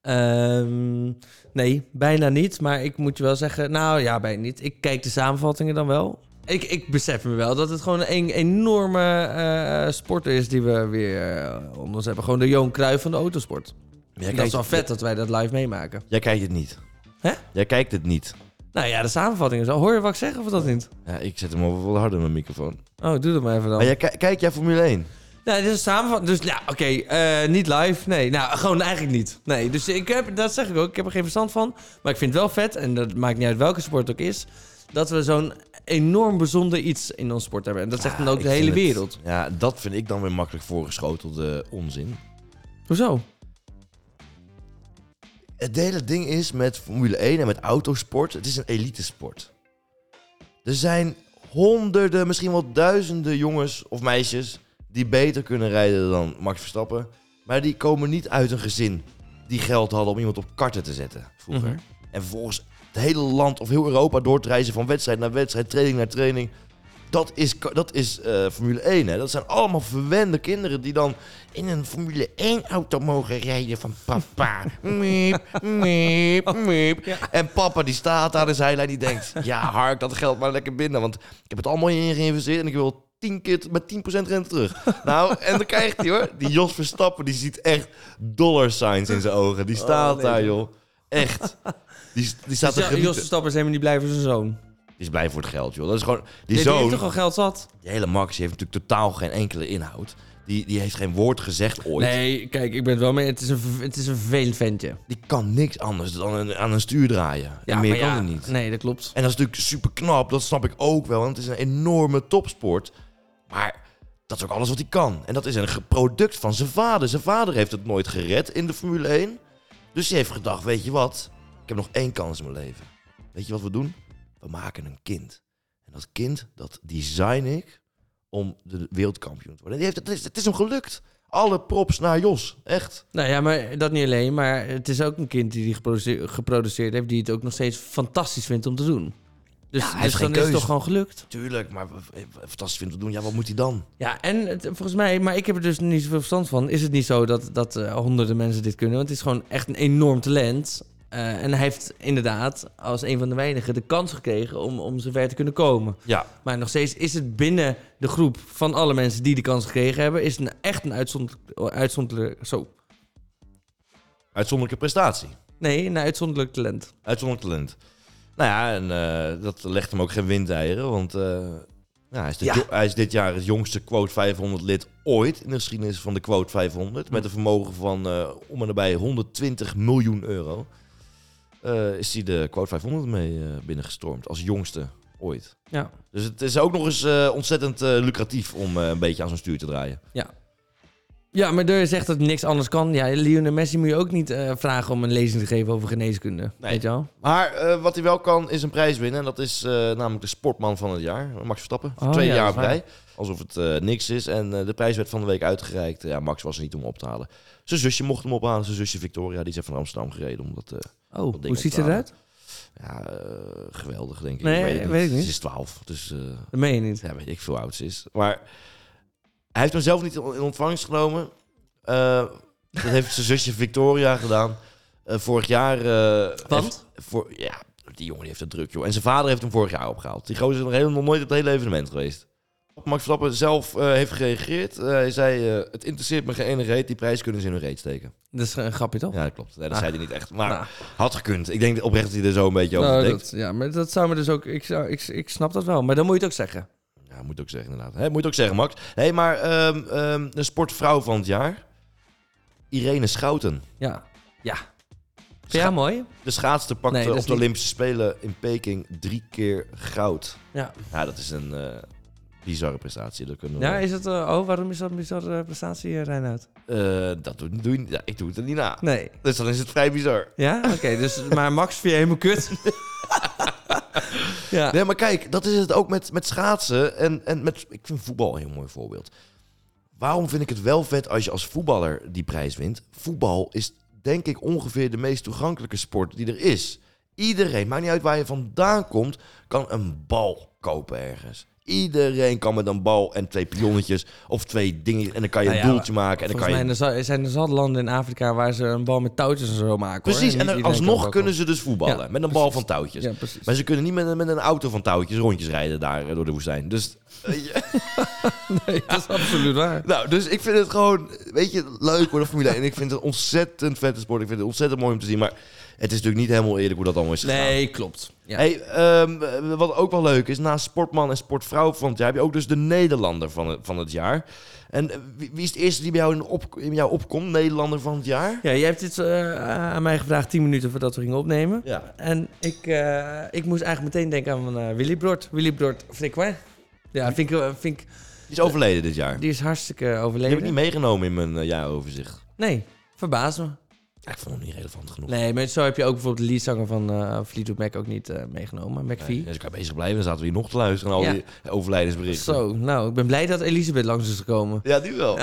B: Ehm, nee, bijna niet. Maar ik moet je wel zeggen, nou ja, bijna niet. Ik kijk de samenvattingen dan wel. Ik, ik besef me wel dat het gewoon een enorme eh sport is die we weer eh, onder ons hebben. Gewoon de Joon Cruijff van de autosport. dat is
A: kijkt-
B: wel vet dat wij dat live meemaken.
A: Jij kijkt het niet.
B: Hè?
A: Jij kijkt het niet.
B: Nou ja, de samenvattingen. zo. Hoor je wat ik zeg of dat niet?
A: Ja, ik zet hem al wel harder mijn microfoon.
B: Oh, doe dat maar even dan.
A: Maar jij, ki- kijk jij Formule 1?
B: Nou, dit is een samenvatting. Dus ja, oké, eh, niet live. Nee, nou, gewoon eigenlijk niet. Nee, dus ik heb, dat zeg ik ook. Ik heb er geen verstand van. Maar ik vind het wel vet, en dat maakt niet uit welke sport het ook is, dat we zo'n enorm bijzonder iets in ons sport hebben. En dat zegt dan ook
A: Ik
B: de hele
A: vind het-
B: wereld.
A: ja, dat vind ik dan weer makkelijk voorgeschotelde onzin.
B: Hoezo?
A: Het hele ding is met Formule 1 en met autosport, het is een elitesport. Er zijn honderden, misschien wel duizenden jongens of meisjes die beter kunnen rijden dan Max Verstappen. Maar die komen niet uit een gezin die geld hadden om iemand op karten te zetten vroeger.
B: Mhm.
A: En vervolgens het hele land of heel Europa door te reizen van wedstrijd naar wedstrijd, training naar training. Dat is, ka- dat is eh, Formule 1. Hè? Dat zijn allemaal verwende kinderen die dan in een Formule 1 auto mogen rijden van papa. Miep, miep, miep. En papa die staat daar in zijn zijlijn die denkt... Ja, Hark, dat geld maar lekker binnen. Want ik heb het allemaal in geïnvesteerd en ik wil 10 keer t- met 10% rente terug. Nou, en dan krijgt hij hoor. Die Jos Verstappen, die ziet echt dollar signs in zijn ogen. Die staat
B: Oh, nee,
A: daar,
B: joh.
A: joh. Echt. Die, die staat
B: dus
A: te
B: ja,
A: genieten.
B: Jos Verstappen is helemaal niet blij voor zijn zoon.
A: Die is blij voor het geld, joh. Dat is gewoon... Die
B: Die, die
A: zoon...
B: heeft toch al geld zat?
A: Die hele Max die heeft natuurlijk totaal geen enkele inhoud. Die, die heeft geen woord gezegd ooit.
B: Nee, kijk, ik ben het wel mee. Het is een, ver- het is een vervelend ventje.
A: Die kan niks anders dan een, aan een stuur draaien.
B: Ja,
A: en meer
B: maar
A: kan
B: ja,
A: hij niet.
B: Nee, dat klopt.
A: En dat is natuurlijk super knap, dat snap ik ook wel. Want het is een enorme topsport. Maar dat is ook alles wat hij kan. En dat is een ge- product van zijn vader. Zijn vader heeft het nooit gered in de Formule 1. Dus hij heeft gedacht, weet je wat? Ik heb nog één kans in mijn leven. Weet je wat we doen? we maken een kind. En dat kind, dat design ik om de wereldkampioen te worden. En die heeft, het, is, het is hem gelukt. Alle props naar Jos, echt.
B: Nou ja, maar dat niet alleen. Maar het is ook een kind die die geproduceer- geproduceerd heeft... die het ook nog steeds fantastisch vindt om te doen. Dus,
A: Ja, hij heeft
B: dus
A: geen
B: dan is het
A: keuze.
B: toch gewoon gelukt.
A: Tuurlijk, maar w- w- fantastisch vindt om te doen. Ja, wat moet hij dan?
B: Ja, en het, volgens mij, maar ik heb er dus niet zoveel verstand van. Is het niet zo dat, dat eh, honderden mensen dit kunnen? Want het is gewoon echt een enorm talent. Eh, en hij heeft inderdaad als een van de weinigen de kans gekregen om, om zover te kunnen komen.
A: Ja.
B: Maar nog steeds is het binnen de groep van alle mensen die de kans gekregen hebben, is het een, echt een uitzonderlijk, uitzonderlijk, zo.
A: Uitzonderlijke prestatie.
B: Nee, een uitzonderlijk talent.
A: Uitzonderlijk talent. Nou ja, en eh, dat legt hem ook geen windeieren, want eh, nou, hij, is dit
B: Ja.
A: jo- hij is dit jaar het jongste Quote 500 lid ooit in de geschiedenis van de Quote 500. Met een vermogen van eh, om en nabij 120 miljoen euro. Eh, is hij de Quote 500 mee eh, binnengestormd als jongste ooit.
B: Ja.
A: Dus het is ook nog eens eh, ontzettend eh, lucratief om eh, een beetje aan zo'n stuur te draaien.
B: Ja. Ja, maar er zegt dat niks anders kan. Ja, Lionel Messi moet je ook niet eh, vragen om een lezing te geven over geneeskunde. Weet je wel?
A: Maar eh, wat hij wel kan, is een prijs winnen. En dat is eh, namelijk de sportman van het jaar, Max Verstappen. Voor
B: Oh,
A: twee
B: ja,
A: jaar
B: dat
A: op
B: is waar.
A: rij. Alsof het eh, niks is. En eh, de prijs werd van de week uitgereikt. Ja, Max was er niet om op te halen. Zijn zusje mocht hem ophalen. Zijn zusje Victoria, die is even naar Amsterdam gereden. Om dat, eh,
B: Oh,
A: dat ding
B: hoe
A: op
B: ziet
A: te
B: ze
A: halen.
B: eruit?
A: Ja, eh, geweldig, denk ik.
B: Nee, weet ik niet.
A: Ze is 12. Dus, eh,
B: Dat meen je niet.
A: Ja, weet ik veel hoe oud ze is. Maar hij heeft hem zelf niet in ontvangst genomen. Eh, dat heeft zijn zusje Victoria gedaan. Eh, vorig jaar... eh,
B: Want?
A: heeft- voor, ja, die jongen die heeft het druk, joh. En zijn vader heeft hem vorig jaar opgehaald. Die gozer is nog helemaal nooit op het hele evenement geweest. Max Verstappen zelf eh, heeft gereageerd. Eh, hij zei, eh, het interesseert me geen ene reet. Die prijs kunnen ze in hun reet steken.
B: Dat is een grapje toch?
A: Ja, dat klopt. Nee, dat
B: Ah.
A: zei hij niet echt. Maar
B: Nou.
A: had gekund. Ik denk oprecht dat hij er zo een beetje over
B: Nou,
A: denkt.
B: dat, ja, maar dat zou me dus ook. Ik, zou, ik, ik snap dat wel, maar dan moet je het ook zeggen.
A: Ja, moet ook zeggen inderdaad. Hè, moet ook zeggen, Max. Hé, hey, maar ehm, ehm, de sportvrouw van het jaar. Irene Schouten.
B: Ja. Ja. Vind jij mooi?
A: De schaatster pakte
B: Nee, dat
A: op
B: is
A: de
B: niet-
A: Olympische Spelen in Peking drie keer goud.
B: Ja.
A: Ja, dat is een eh, bizarre prestatie. Dat kunnen we...
B: Ja, is het. eh, oh, waarom is dat een bizarre prestatie, eh, Reinoud?
A: Eh, dat doe, doe je niet. Ja, ik doe het er niet na.
B: Nee.
A: Dus dan is het vrij bizar.
B: Ja? Oké, dus. Maar Max vind je helemaal kut. ja.
A: Nee, maar kijk, dat is het ook met, met schaatsen en, en met... Ik vind voetbal een heel mooi voorbeeld. Waarom vind ik het wel vet als je als voetballer die prijs wint? Voetbal is denk ik ongeveer de meest toegankelijke sport die er is. Iedereen, maakt niet uit waar je vandaan komt, kan een bal kopen ergens. Iedereen kan met een bal en twee pionnetjes of twee dingen... en dan kan je een
B: Nou ja,
A: doeltje maken en dan kan
B: volgens
A: je...
B: mij er za- zijn er zat landen in Afrika waar ze een bal met touwtjes en zo maken. hoor.
A: Precies,
B: niet
A: en, dan
B: iedereen kan
A: alsnog
B: ook
A: kunnen
B: nog-
A: ze dus voetballen.
B: Ja,
A: met een bal van touwtjes.
B: Ja, precies.
A: maar ze kunnen niet met, een- met een auto van touwtjes rondjes rijden daar eh, door de woestijn. Dus
B: Nee, dat is absoluut waar.
A: Nou, dus ik vind het gewoon, weet je, leuk voor de Formule 1. En ik vind het een ontzettend vette sport. Ik vind het ontzettend mooi om te zien. Maar het is natuurlijk niet helemaal eerlijk hoe dat allemaal is gegaan.
B: Nee, klopt. Ja.
A: Hey, ehm, wat ook wel leuk is, naast sportman en sportvrouw van het jaar... heb je ook dus de Nederlander van het, van het jaar. En eh, wie, wie is het eerste die bij jou, in op, in jou opkomt, Nederlander van het jaar?
B: Ja, jij hebt dit eh, aan mij gevraagd 10 minuten voordat we gingen opnemen.
A: Ja.
B: En ik, eh, ik moest eigenlijk meteen denken aan eh, Willy Brort. Willy Brort Frikwijn. Ja, vind ik, eh, vind ik...
A: Die is overleden dit jaar.
B: Die is hartstikke
A: Die
B: overleden.
A: heb ik niet meegenomen in mijn eh, jaaroverzicht.
B: Nee, verbaas me.
A: Ja, ik vond hem niet relevant genoeg.
B: Nee, maar zo heb je ook bijvoorbeeld de leadzanger van eh Fleetwood Mac ook niet eh, meegenomen. McVie.
A: Nee, dus ik kan bezig blijven. Dan zaten we hier nog te luisteren naar al
B: Ja.
A: die overlijdensberichten.
B: Zo, nou, ik ben blij dat Elisabeth langs is gekomen.
A: Ja, die wel.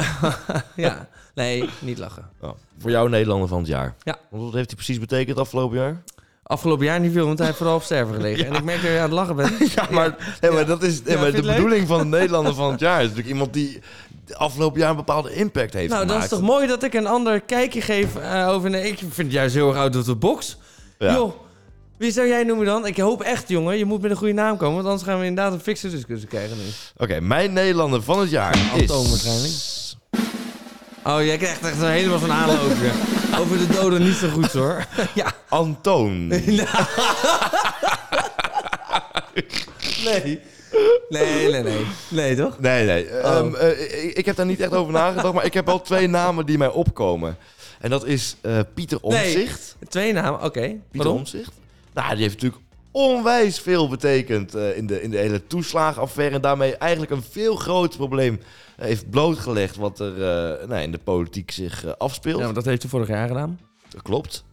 B: ja, nee, niet lachen.
A: Nou, voor jou Nederlander van het jaar.
B: Ja.
A: Want wat heeft hij precies betekend afgelopen jaar?
B: Afgelopen jaar niet veel, want hij heeft vooral op sterven gelegen. En ik merk dat je aan het lachen bent.
A: Ja, maar, nee, maar, dat is, nee,
B: Ja,
A: maar
B: vind je
A: de
B: het leuk?
A: bedoeling van de Nederlander van het jaar is natuurlijk iemand die de afgelopen jaar een bepaalde impact heeft
B: nou, dat is
A: gemaakt.
B: toch mooi dat ik een ander kijkje geef eh, over... Nee, ik vind het juist heel erg uit op de box.
A: Ja.
B: Joh, wie zou jij noemen dan? Ik hoop echt, jongen, je moet met een goede naam komen. Want anders gaan we inderdaad een fikse discussie krijgen nu.
A: Oké, mijn Nederlander van het jaar is...
B: Antoon waarschijnlijk. Oh, jij krijgt echt een helemaal van aanloopje. Over de doden niet zo goed, hoor. ja.
A: Antoon.
B: Nee. Nee, nee, nee. Nee, toch?
A: Nee, nee.
B: Oh.
A: Ehm, eh, ik, ik heb daar niet echt over nagedacht, maar ik heb wel twee namen die mij opkomen. En dat is eh, Pieter Omtzigt.
B: Nee, twee namen, oké.
A: Pieter
B: Waarom?
A: Omtzigt. Nou, die heeft natuurlijk onwijs veel betekend eh, in, de, in de hele toeslagenaffaire. En daarmee eigenlijk een veel groter probleem eh, heeft blootgelegd wat er eh, nou, in de politiek zich eh, afspeelt.
B: Ja, want dat heeft hij vorig jaar gedaan.
A: Dat klopt.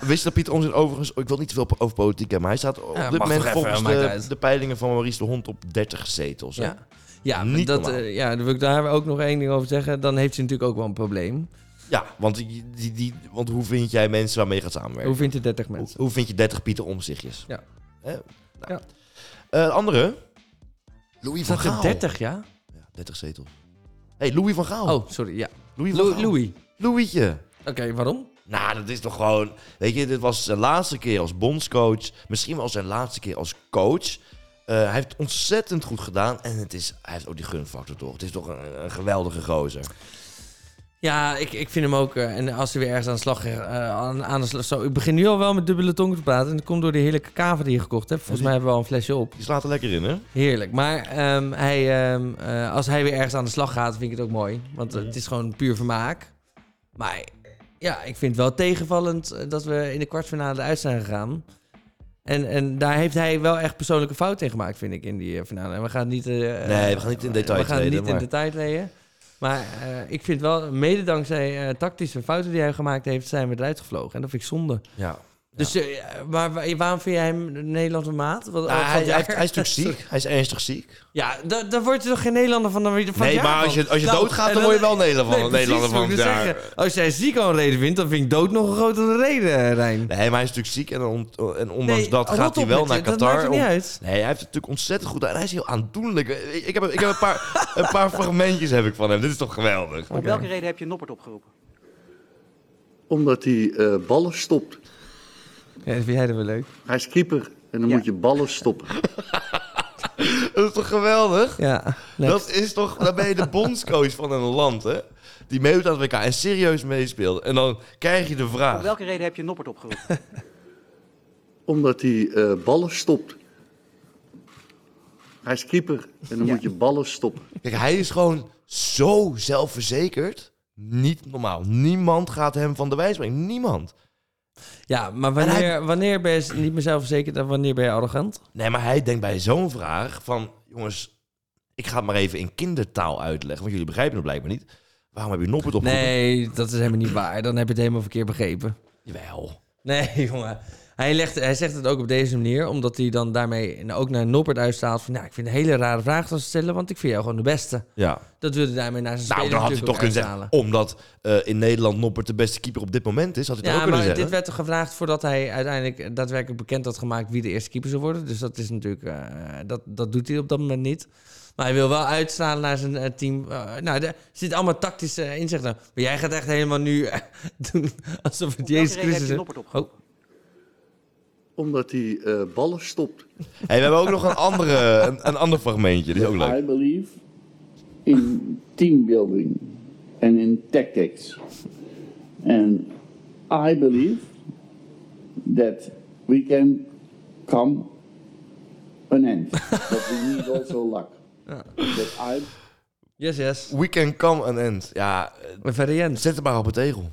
A: Wist je dat Piet Omtzigt overigens... Ik wil niet te veel over politiek hebben, maar hij staat op
B: Ja,
A: dit
B: mag
A: moment
B: toch even, eh,
A: volgens
B: maakt
A: de,
B: uit.
A: de peilingen van Maurice de Hond op 30 zetels. hè?
B: Ja, ja,
A: Niet
B: dat,
A: normaal.
B: eh, ja daar wil ik daar ook nog één ding over zeggen. Dan heeft ze natuurlijk ook wel een probleem.
A: Ja, want, die, die, die- want hoe vind jij mensen waarmee je gaat samenwerken?
B: Hoe vind je 30 mensen?
A: Hoe, hoe vind je 30 Pieter Omzichtjes?
B: Ja.
A: Hè? Nou. Eh, andere? Louis van
B: Staat er
A: Gaal.
B: 30, ja?
A: Ja, 30 zetels. hey, Louis van Gaal.
B: Oh, sorry, ja.
A: Louis
B: Lou-
A: Gaal.
B: Louis.
A: Louietje.
B: Oké, waarom?
A: Nou, dat is toch gewoon... Weet je, dit was zijn laatste keer als bondscoach. Misschien wel zijn laatste keer als coach. Eh, hij heeft het ontzettend goed gedaan. En het is, hij heeft ook die gunfactor toch. Het is toch een, een geweldige gozer.
B: Ja, ik, ik vind hem ook. eh, en als hij weer ergens aan de slag. eh, aan, aan de slag zo, ik begin nu al wel met dubbele tong te praten. En dat komt door die heerlijke kava die je gekocht hebt. Volgens mij hebben we al een flesje op.
A: Die slaat er lekker in, hè?
B: Heerlijk. Maar ehm, hij, ehm, eh, als hij weer ergens aan de slag gaat, vind ik het ook mooi. Want eh,
A: Mhm.
B: het is gewoon puur vermaak. Maar ja, ik vind het wel tegenvallend eh, dat we in de kwartfinale uit zijn gegaan. En, en daar heeft hij wel echt persoonlijke fout in gemaakt, vind ik, in die eh, finale. En we gaan niet... eh,
A: Nee, we gaan niet in detail
B: We gaan
A: treden,
B: niet
A: maar-
B: in detail treden. Maar eh, ik vind wel, mede dankzij eh, tactische fouten die hij gemaakt heeft, zijn we eruit gevlogen. En dat vind ik zonde.
A: Ja.
B: Dus eh, maar wa- waarom vind jij hem een Nederlandse maat? Wat-
A: Nou,
B: wat-
A: hij,
B: ja.
A: hij, heeft- hij is natuurlijk ziek. Hij is ernstig ziek.
B: Ja, da- daar word je toch geen Nederlander van? Dan word je van
A: Nee,
B: het
A: maar
B: jaar
A: als je-
B: van. Nou,
A: als je doodgaat, dan
B: en
A: word je wel Nederlander van-
B: precies,
A: Nederlander
B: moet ik
A: van
B: dus
A: het jaar.
B: zeggen. Als jij ziek al een reden vindt, dan vind ik dood nog een grotere reden, Rijn.
A: Nee, maar hij is natuurlijk ziek en, on- en ondanks
B: Nee, oh,
A: dat
B: rot
A: gaat hij
B: op
A: wel
B: met
A: naar
B: je, dat
A: Qatar.
B: maakt er niet
A: om-
B: uit.
A: Nee, hij heeft het natuurlijk ontzettend goed gedaan. En Hij is heel aandoenlijk. Ik ik heb, ik heb een, paar, een paar fragmentjes heb ik van hem. Dit is toch geweldig?
S: Om welke reden heb je Noppert opgeroepen?
T: Omdat hij eh, ballen stopt.
B: Ja, dat vind jij dat wel leuk.
T: Hij is keeper en dan moet je ballen stoppen.
A: Dat is toch geweldig?
B: Ja.
A: Dat is toch, dan ben je de bondscoach van een land, hè? Die meedoet aan het WK en serieus meespeelt. En dan krijg je de
S: Om
A: vraag.
S: welke reden heb je Noppert opgeroepen?
T: Omdat hij eh, ballen stopt. Hij is keeper en dan moet je ballen stoppen.
A: Kijk, hij is gewoon zo zelfverzekerd. Niet normaal. Niemand gaat hem van de wijs brengen. Niemand.
B: Ja, maar wanneer, wanneer ben je niet meer zelfverzekerd en wanneer ben je arrogant?
A: Nee, maar hij denkt bij zo'n vraag van... Jongens, ik ga het maar even in kindertaal uitleggen. Want jullie begrijpen het blijkbaar niet. Waarom heb je Noppert opgeroepen?
B: Nee, dat is helemaal niet waar. Dan heb je het helemaal verkeerd begrepen.
A: Jawel.
B: Nee, jongen. Hij, legt, hij zegt het ook op deze manier, omdat hij dan daarmee ook naar Noppert uitstaat van... Nou, ik vind het een hele rare vraag te stellen, want ik vind jou gewoon de beste.
A: Ja.
B: Dat wilde hij daarmee naar zijn
A: Nou, dan
B: speler
A: had hij
B: natuurlijk
A: toch
B: ook
A: kunnen zeggen...
B: uithalen.
A: Omdat eh, in Nederland Noppert de beste keeper op dit moment is... had hij toch
B: Ja,
A: ook kunnen
B: maar
A: zeggen.
B: dit werd toch gevraagd voordat hij uiteindelijk daadwerkelijk bekend had gemaakt wie de eerste keeper zou worden. Dus dat is natuurlijk, eh, dat, dat doet hij op dat moment niet. Maar hij wil wel uitslaan naar zijn eh, team. Eh, nou, er zit allemaal tactische eh, inzichten. Maar jij gaat echt helemaal nu eh, doen alsof het Jezus
T: reden heb
B: Christus
T: je
B: is. Oh,
T: Noppert Omdat hij eh, ballen stopt.
A: Hey, we hebben ook nog een, andere, een, een ander fragmentje. Die is ook leuk.
U: I believe in team building and in tactics. And I believe that we can come an end. but we need also luck. That I
B: Yes, yes.
A: We can come an end. Ja,
B: end.
A: zet het maar op het tegel.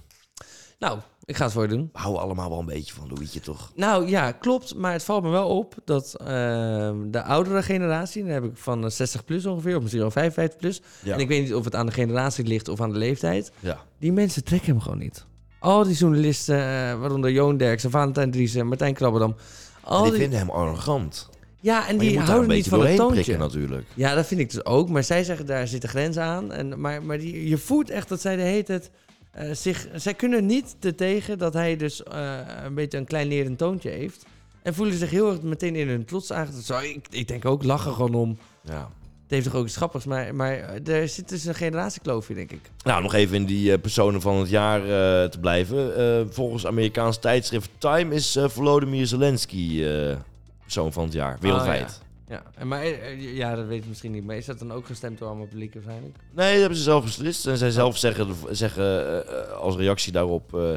B: Nou, ik ga het voor je doen.
A: We houden allemaal wel een beetje van Louietje, toch?
B: Nou ja, klopt. Maar het valt me wel op dat ehm, de oudere generatie, daar heb ik van eh, 60 plus ongeveer, of misschien wel 55 plus.
A: Ja.
B: En ik weet niet of het aan de generatie ligt of aan de leeftijd.
A: Ja.
B: Die mensen trekken hem gewoon niet. Al die journalisten, eh, waaronder Joon Derksen, Valentijn Driessen, Martijn Krabberdam. Al
A: En die vinden hem arrogant.
B: Ja, en
A: Maar je
B: die
A: moet daar een
B: houden niet
A: beetje
B: van het
A: doorheen
B: toontje.
A: prikken natuurlijk.
B: Ja, dat vind ik dus ook. Maar zij zeggen, daar zit een grens aan. En, maar maar die, je voelt echt dat zij de heet het... zich, zij kunnen niet te tegen dat hij dus eh, een beetje een klein lerend toontje heeft. En voelen zich heel erg meteen in hun trots aangetrokken. Zo, Ik, ik denk ook, lachen gewoon om.
A: Ja.
B: Het heeft toch ook iets grappigs. Maar, maar eh, er zit dus een generatiekloof in, denk ik.
A: Nou, nog even in die eh, personen van het jaar eh, te blijven. Eh, volgens Amerikaans tijdschrift Time is eh, Volodymyr Zelensky eh, persoon van het jaar, wereldwijd.
B: Oh, ja. ja. En maar eh, ja, dat weet ik misschien niet. Maar is dat dan ook gestemd door allemaal publiek waarschijnlijk?
A: Nee, dat hebben ze zelf beslist. En zij zelf zeggen, zeggen eh, eh, als reactie daarop... eh,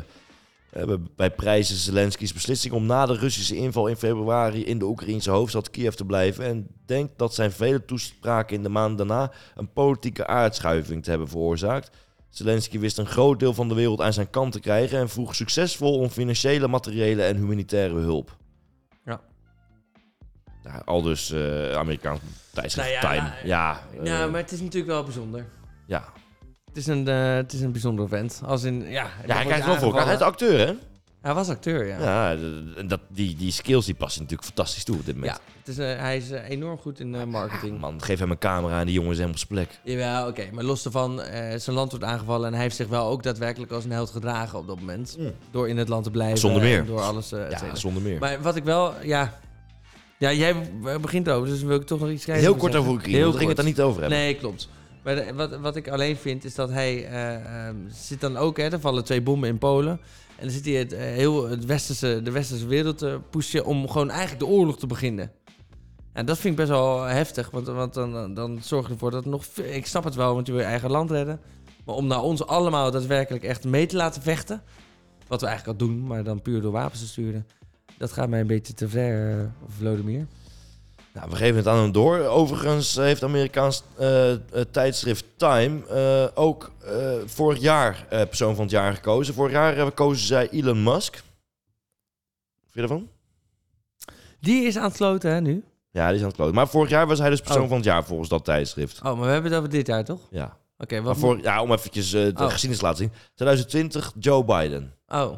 A: eh, bij prijzen Zelensky's beslissing om na de Russische inval in februari in de Oekraïnse hoofdstad Kiev te blijven. En denkt dat zijn vele toespraken in de maand daarna een politieke aardschuiving te hebben veroorzaakt. Zelensky wist een groot deel van de wereld aan zijn kant te krijgen en vroeg succesvol om financiële, materiële en humanitaire hulp.
B: Ja.
A: Ja, al dus eh, Amerikaans tijdschrift
B: Nou ja,
A: Time.
B: nou,
A: ja, eh,
B: Ja, maar het is natuurlijk wel bijzonder.
A: ja.
B: Het is een, eh, het is een bijzonder vent. Als in, ja, dan
A: Ja, hij
B: wordt
A: krijgt wel voor elkaar. Hij is
B: aangevallen.
A: acteur, hè?
B: Hij was acteur, ja.
A: Ja, d- d- dat, die, die skills die passen natuurlijk fantastisch toe op dit moment.
B: Ja, het is, eh, hij is eh, enorm goed in eh, marketing.
A: Ah, Man, geef hem een camera en die jongen is helemaal op zijn plek.
B: Jawel, oké. Maar los daarvan, eh, zijn land wordt aangevallen... en hij heeft zich wel ook daadwerkelijk als een held gedragen op dat moment. Door in het land te blijven.
A: Mm. Zonder meer.
B: en Door alles, eh, et
A: ja,
B: cetera.
A: zonder meer.
B: Maar wat ik wel, ja... Ja, jij eh, begint over, dus wil ik toch nog iets krijgen.
A: Heel kort over Oekraïne, want we gingen het daar niet over hebben.
B: Nee, klopt. Maar de- wat, wat ik alleen vind, is dat hij eh, ehm, zit dan ook... Hè, er vallen twee bommen in Polen. En dan zit hij het, eh, heel het westerse, de westerse wereld te pushen... om gewoon eigenlijk de oorlog te beginnen. En dat vind ik best wel heftig, want, want dan, dan- dan zorg je ervoor dat nog... ve- Ik snap het wel, want je wil je eigen land redden. Maar om nou ons allemaal daadwerkelijk echt mee te laten vechten... wat we eigenlijk al doen, maar dan puur door wapens te sturen... dat gaat mij een beetje te ver, eh, Vladimir.
A: Nou, we geven het aan hem door. Overigens heeft Amerikaans eh, eh, tijdschrift Time eh, ook eh, vorig jaar eh, persoon van het jaar gekozen. Vorig jaar eh, kozen zij Elon Musk. Vind je daarvan?
B: Die is aan het kloten, hè, nu?
A: Ja, die is aan het kloten. Maar vorig jaar was hij dus persoon
B: Oh.
A: van het jaar volgens dat tijdschrift.
B: Oh, maar we hebben het over dit jaar, toch?
A: Ja.
B: Oké,
A: Maar
B: wat...
A: voor, ja, om eventjes eh, de
B: Oh.
A: geschiedenis te laten zien. 2020 Joe Biden.
B: Oh.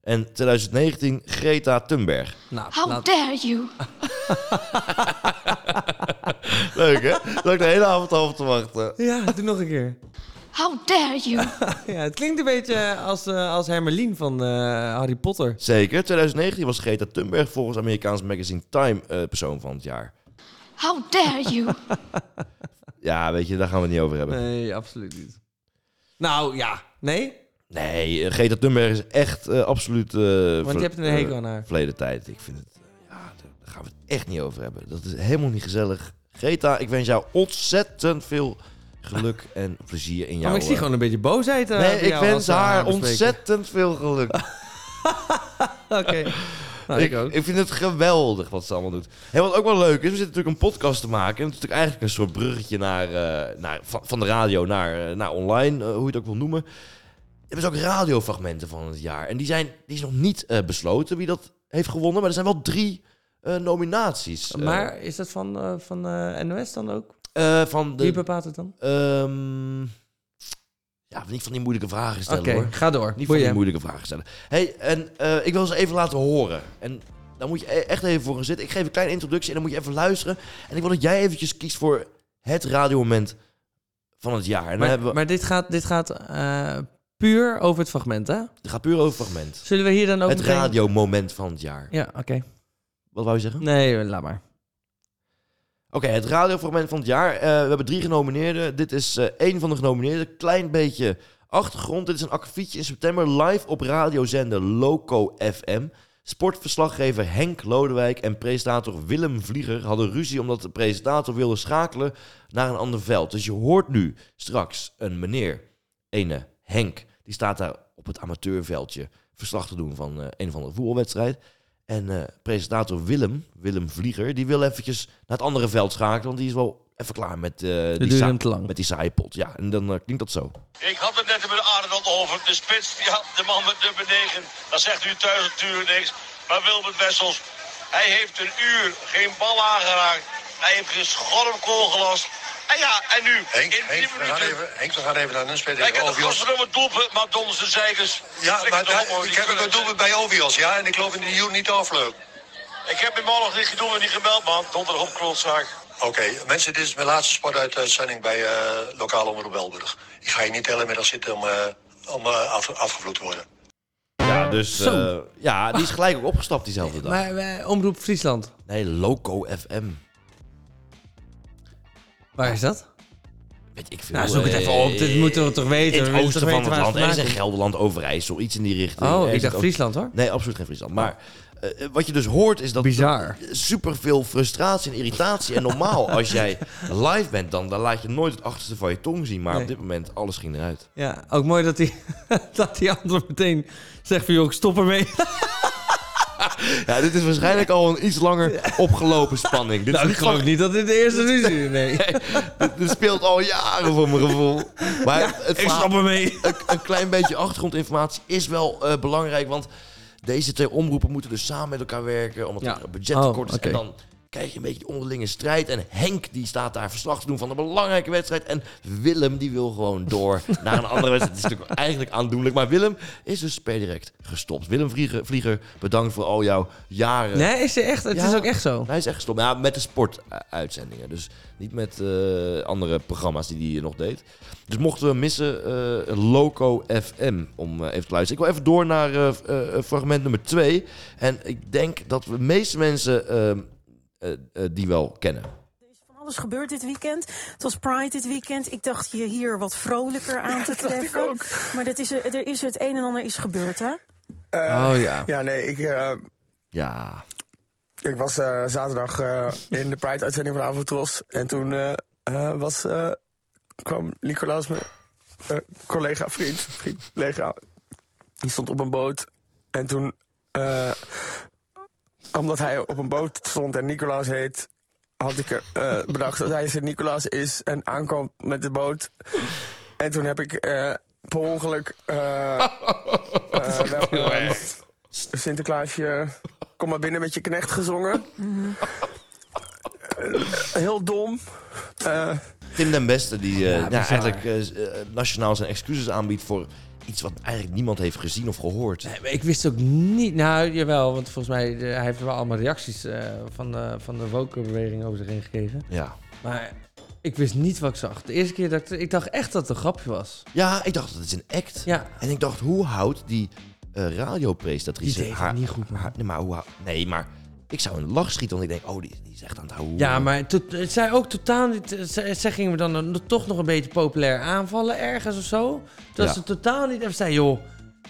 A: En 2019 Greta Thunberg.
B: Nou,
G: How
B: laat-
G: dare you?
A: Leuk hè? Leuk de hele avond over te wachten.
B: Ja, doe nog een keer.
G: How dare you?
B: Ja, het klinkt een beetje als, eh, als Hermelien van eh, Harry Potter.
A: Zeker. 2019 was Greta Thunberg volgens Amerikaans magazine Time eh, persoon van het jaar.
G: How dare you?
A: Ja, weet je, daar gaan we het niet over hebben.
B: Nee, absoluut niet. Nou, ja. Nee?
A: Nee, eh, Greta Thunberg is echt eh, absoluut... eh,
B: Want je hebt een
A: eh,
B: hekel aan haar.
A: Verleden tijd. Ik vind het... eh, ja, daar- daar gaan we het echt niet over hebben. Dat is helemaal niet gezellig. Greta, ik wens jou ontzettend veel geluk en plezier in jouw...
B: Oh, maar ik zie
A: eh,
B: gewoon een beetje boosheid. eh,
A: nee,
B: bij
A: ik
B: jou als
A: wens
B: we
A: haar
B: bespreken.
A: ontzettend veel geluk.
B: Oké. Nou,
A: ik, ik vind het geweldig wat ze allemaal doet. Hey, wat ook wel leuk is, we zitten natuurlijk een podcast te maken. En het is natuurlijk eigenlijk een soort bruggetje naar, eh, naar, van, van de radio naar, eh, naar online, eh, hoe je het ook wil noemen. Er zijn ook radiofragmenten van het jaar. En die, zijn, die is nog niet eh, besloten wie dat heeft gewonnen. Maar er zijn wel drie eh, nominaties. eh,
B: Maar is dat van, eh, van eh, NOS dan ook?
A: eh, van de,
B: Wie bepaalt het dan?
A: Ehm, ja, niet van die moeilijke vragen stellen
B: Oké,
A: hoor.
B: ga door.
A: Niet van
B: Boeien.
A: die moeilijke vragen stellen. hey, en eh, ik wil ze even laten horen. En daar moet je e- echt even voor gaan zitten. Ik geef een kleine introductie en dan moet je even luisteren. En ik wil dat jij eventjes kiest voor het radiomoment van het jaar. En dan
B: Maar,
A: hebben we...
B: maar dit gaat, dit gaat eh, puur over het fragment, hè?
A: Het gaat puur over fragment.
B: Zullen we hier dan ook
A: Het
B: meteen-
A: radiomoment van het jaar.
B: Ja, oké.
A: Wat wou je zeggen?
B: Nee, laat maar.
A: Oké, het radiofragment van het jaar. Eh, we hebben drie genomineerden. Dit is eh, één van de genomineerden. Klein beetje achtergrond. Dit is een akkefietje in september live op radiozender Loco FM. Sportverslaggever Henk Lodewijk en presentator Willem Vlieger hadden ruzie omdat de presentator wilde schakelen naar een ander veld. Dus je hoort nu straks een meneer, ene Henk, die staat daar op het amateurveldje verslag te doen van eh, een van de voetbalwedstrijd. En eh, presentator Willem, Willem Vlieger, die wil eventjes naar het andere veld schakelen. Want die is wel even klaar met, eh, die,
B: duurt
A: sa-
B: hem te lang.
A: met die saaie pot. Ja, en dan eh, klinkt dat zo.
V: Ik had het net met Arnold over. De spits, ja, de man met nummer 9. Dat zegt u thuis natuurlijk niks. Maar Wilbert Wessels, hij heeft een uur geen bal aangeraakt. Hij heeft geen schormkool gelast. En ja, en nu,
W: Henk,
V: in
W: Henk,
V: 10
W: we gaan
V: minuten...
W: even, Henk, we gaan even naar een speler
V: Hij
W: tegen
V: kent het
W: Ovios.
V: gasten om het doelpunt, maar donders de zeikers.
W: Ja, maar daar- ik heb het doelpunt bij Ovios, ja, en ik geloof in de Jury niet afleuk.
V: Ik heb hem al nog niet gedoe en niet gemeld, man. Donderdag op klootzaak.
W: Oké, mensen, dit is mijn laatste sportuitzending bij eh Lokaal Omroep Belburg. Ik ga hier niet de hele middag zitten om, eh, om eh, af, afgevloed te worden.
A: Ja, dus
W: Zo.
A: eh, ja, die is gelijk ook opgestapt diezelfde dag.
B: Maar eh, Omroep Friesland,
A: Nee, Loco FM.
B: waar is dat?
A: Weet ik veel. Eh,
B: Nou, zoek het even op. Dit moeten we toch weten.
A: In
B: We
A: het
B: moeten
A: oosten
B: toch
A: van
B: weten
A: het
B: waar
A: land.
B: het
A: Ergens in
B: vandaan
A: Gelderland, Overijssel, iets in die richting.
B: Oh, ik
A: Ergens in
B: dacht
A: het
B: Friesland, hoor. Oh.
A: Nee, absoluut geen Friesland. Maar eh, wat je dus hoort is dat... Bizar. Superveel frustratie en irritatie. En normaal, als jij live bent, dan, dan laat je nooit het achterste van je tong zien. Maar
B: Nee.
A: op dit moment, alles ging eruit.
B: Ja, ook mooi dat die, dat die antwoord meteen zegt van... joh, ik stop ermee.
A: Ja, dit is waarschijnlijk al een iets langer opgelopen spanning. Dit
B: Nou,
A: is
B: ik geloof niet dat dit de eerste ruzie is, nee.
A: dit, dit speelt al jaren voor mijn gevoel. Maar
B: Ja, ik snap
A: hem mee. Een, een klein beetje achtergrondinformatie is wel eh, belangrijk. Want deze twee omroepen moeten dus samen met elkaar werken. Omdat
B: Ja.
A: er budget tekort
B: Oh,
A: is.
B: oké.
A: En dan krijg je een beetje die onderlinge strijd. En Henk die staat daar verslag te doen van een belangrijke wedstrijd. En Willem die wil gewoon door naar een andere wedstrijd. Het is natuurlijk eigenlijk aandoenlijk. Maar Willem is dus per direct gestopt. Willem Vlieger, Vlieger bedankt voor al jouw jaren.
B: Nee, is hij echt? Het is ook echt zo.
A: Hij is echt gestopt. Ja, met de sportuitzendingen. Dus niet met eh, andere programma's die hij nog deed. Dus mochten we missen, eh, Loco FM om eh, even te luisteren. Ik wil even door naar eh, f- eh, eh, fragment nummer 2. En ik denk dat we de meeste mensen ehm, eh, eh, die wel kennen.
C: alles gebeurd dit weekend. Het was Pride dit weekend. Ik dacht je hier wat vrolijker aan te treffen. Maar dat is, er is het een en ander is gebeurd, hè?
D: Eh,
A: Oh, ja.
D: Ja, nee, ik. eh,
A: Ja.
D: ik was eh, zaterdag eh, in de Pride-uitzending van Avotros. En toen eh, eh, was, eh, kwam Nicolaas, mijn eh, collega, vriend, vriend, collega. Die stond op een boot. En toen. eh, omdat hij op een boot stond en Nicolaas heet. had ik er, eh, bedacht dat hij Sint-Nicolaas is en aankwam met de boot. En toen heb ik eh, per ongeluk. eh, eh, wel- Sinterklaasje, kom maar binnen met je knecht gezongen. Eh, Heel dom. Eh,
A: Tim den Beste die eh, ja,
D: bizar.
A: eigenlijk eh, eh, nationaal zijn excuses aanbiedt voor iets wat eigenlijk niemand heeft gezien of gehoord.
B: Maar Ik wist ook niet. Nou, jawel, want volgens mij eh, hij heeft wel allemaal reacties eh, van, de, van de woke beweging over zich heen gekregen.
A: Ja.
B: Maar ik wist niet wat ik zag. De eerste keer dat ik, ik dacht echt dat het een grapje was.
A: Ja, ik dacht dat het een act.
B: Ja.
A: En ik dacht, hoe houdt die eh radiopresentatrice
B: Die deed het
A: haar...
B: niet goed,
A: haar- nee, maar hoe hou- Nee, maar ik zou een lach schieten, want ik denk, oh, die, die is echt aan het houden.
B: Ja, maar to- het zij ook totaal niet. eh, Zij, zij gingen me dan een- toch nog een beetje populair aanvallen ergens of zo. Dat
A: Ja.
B: ze totaal niet even zei, joh,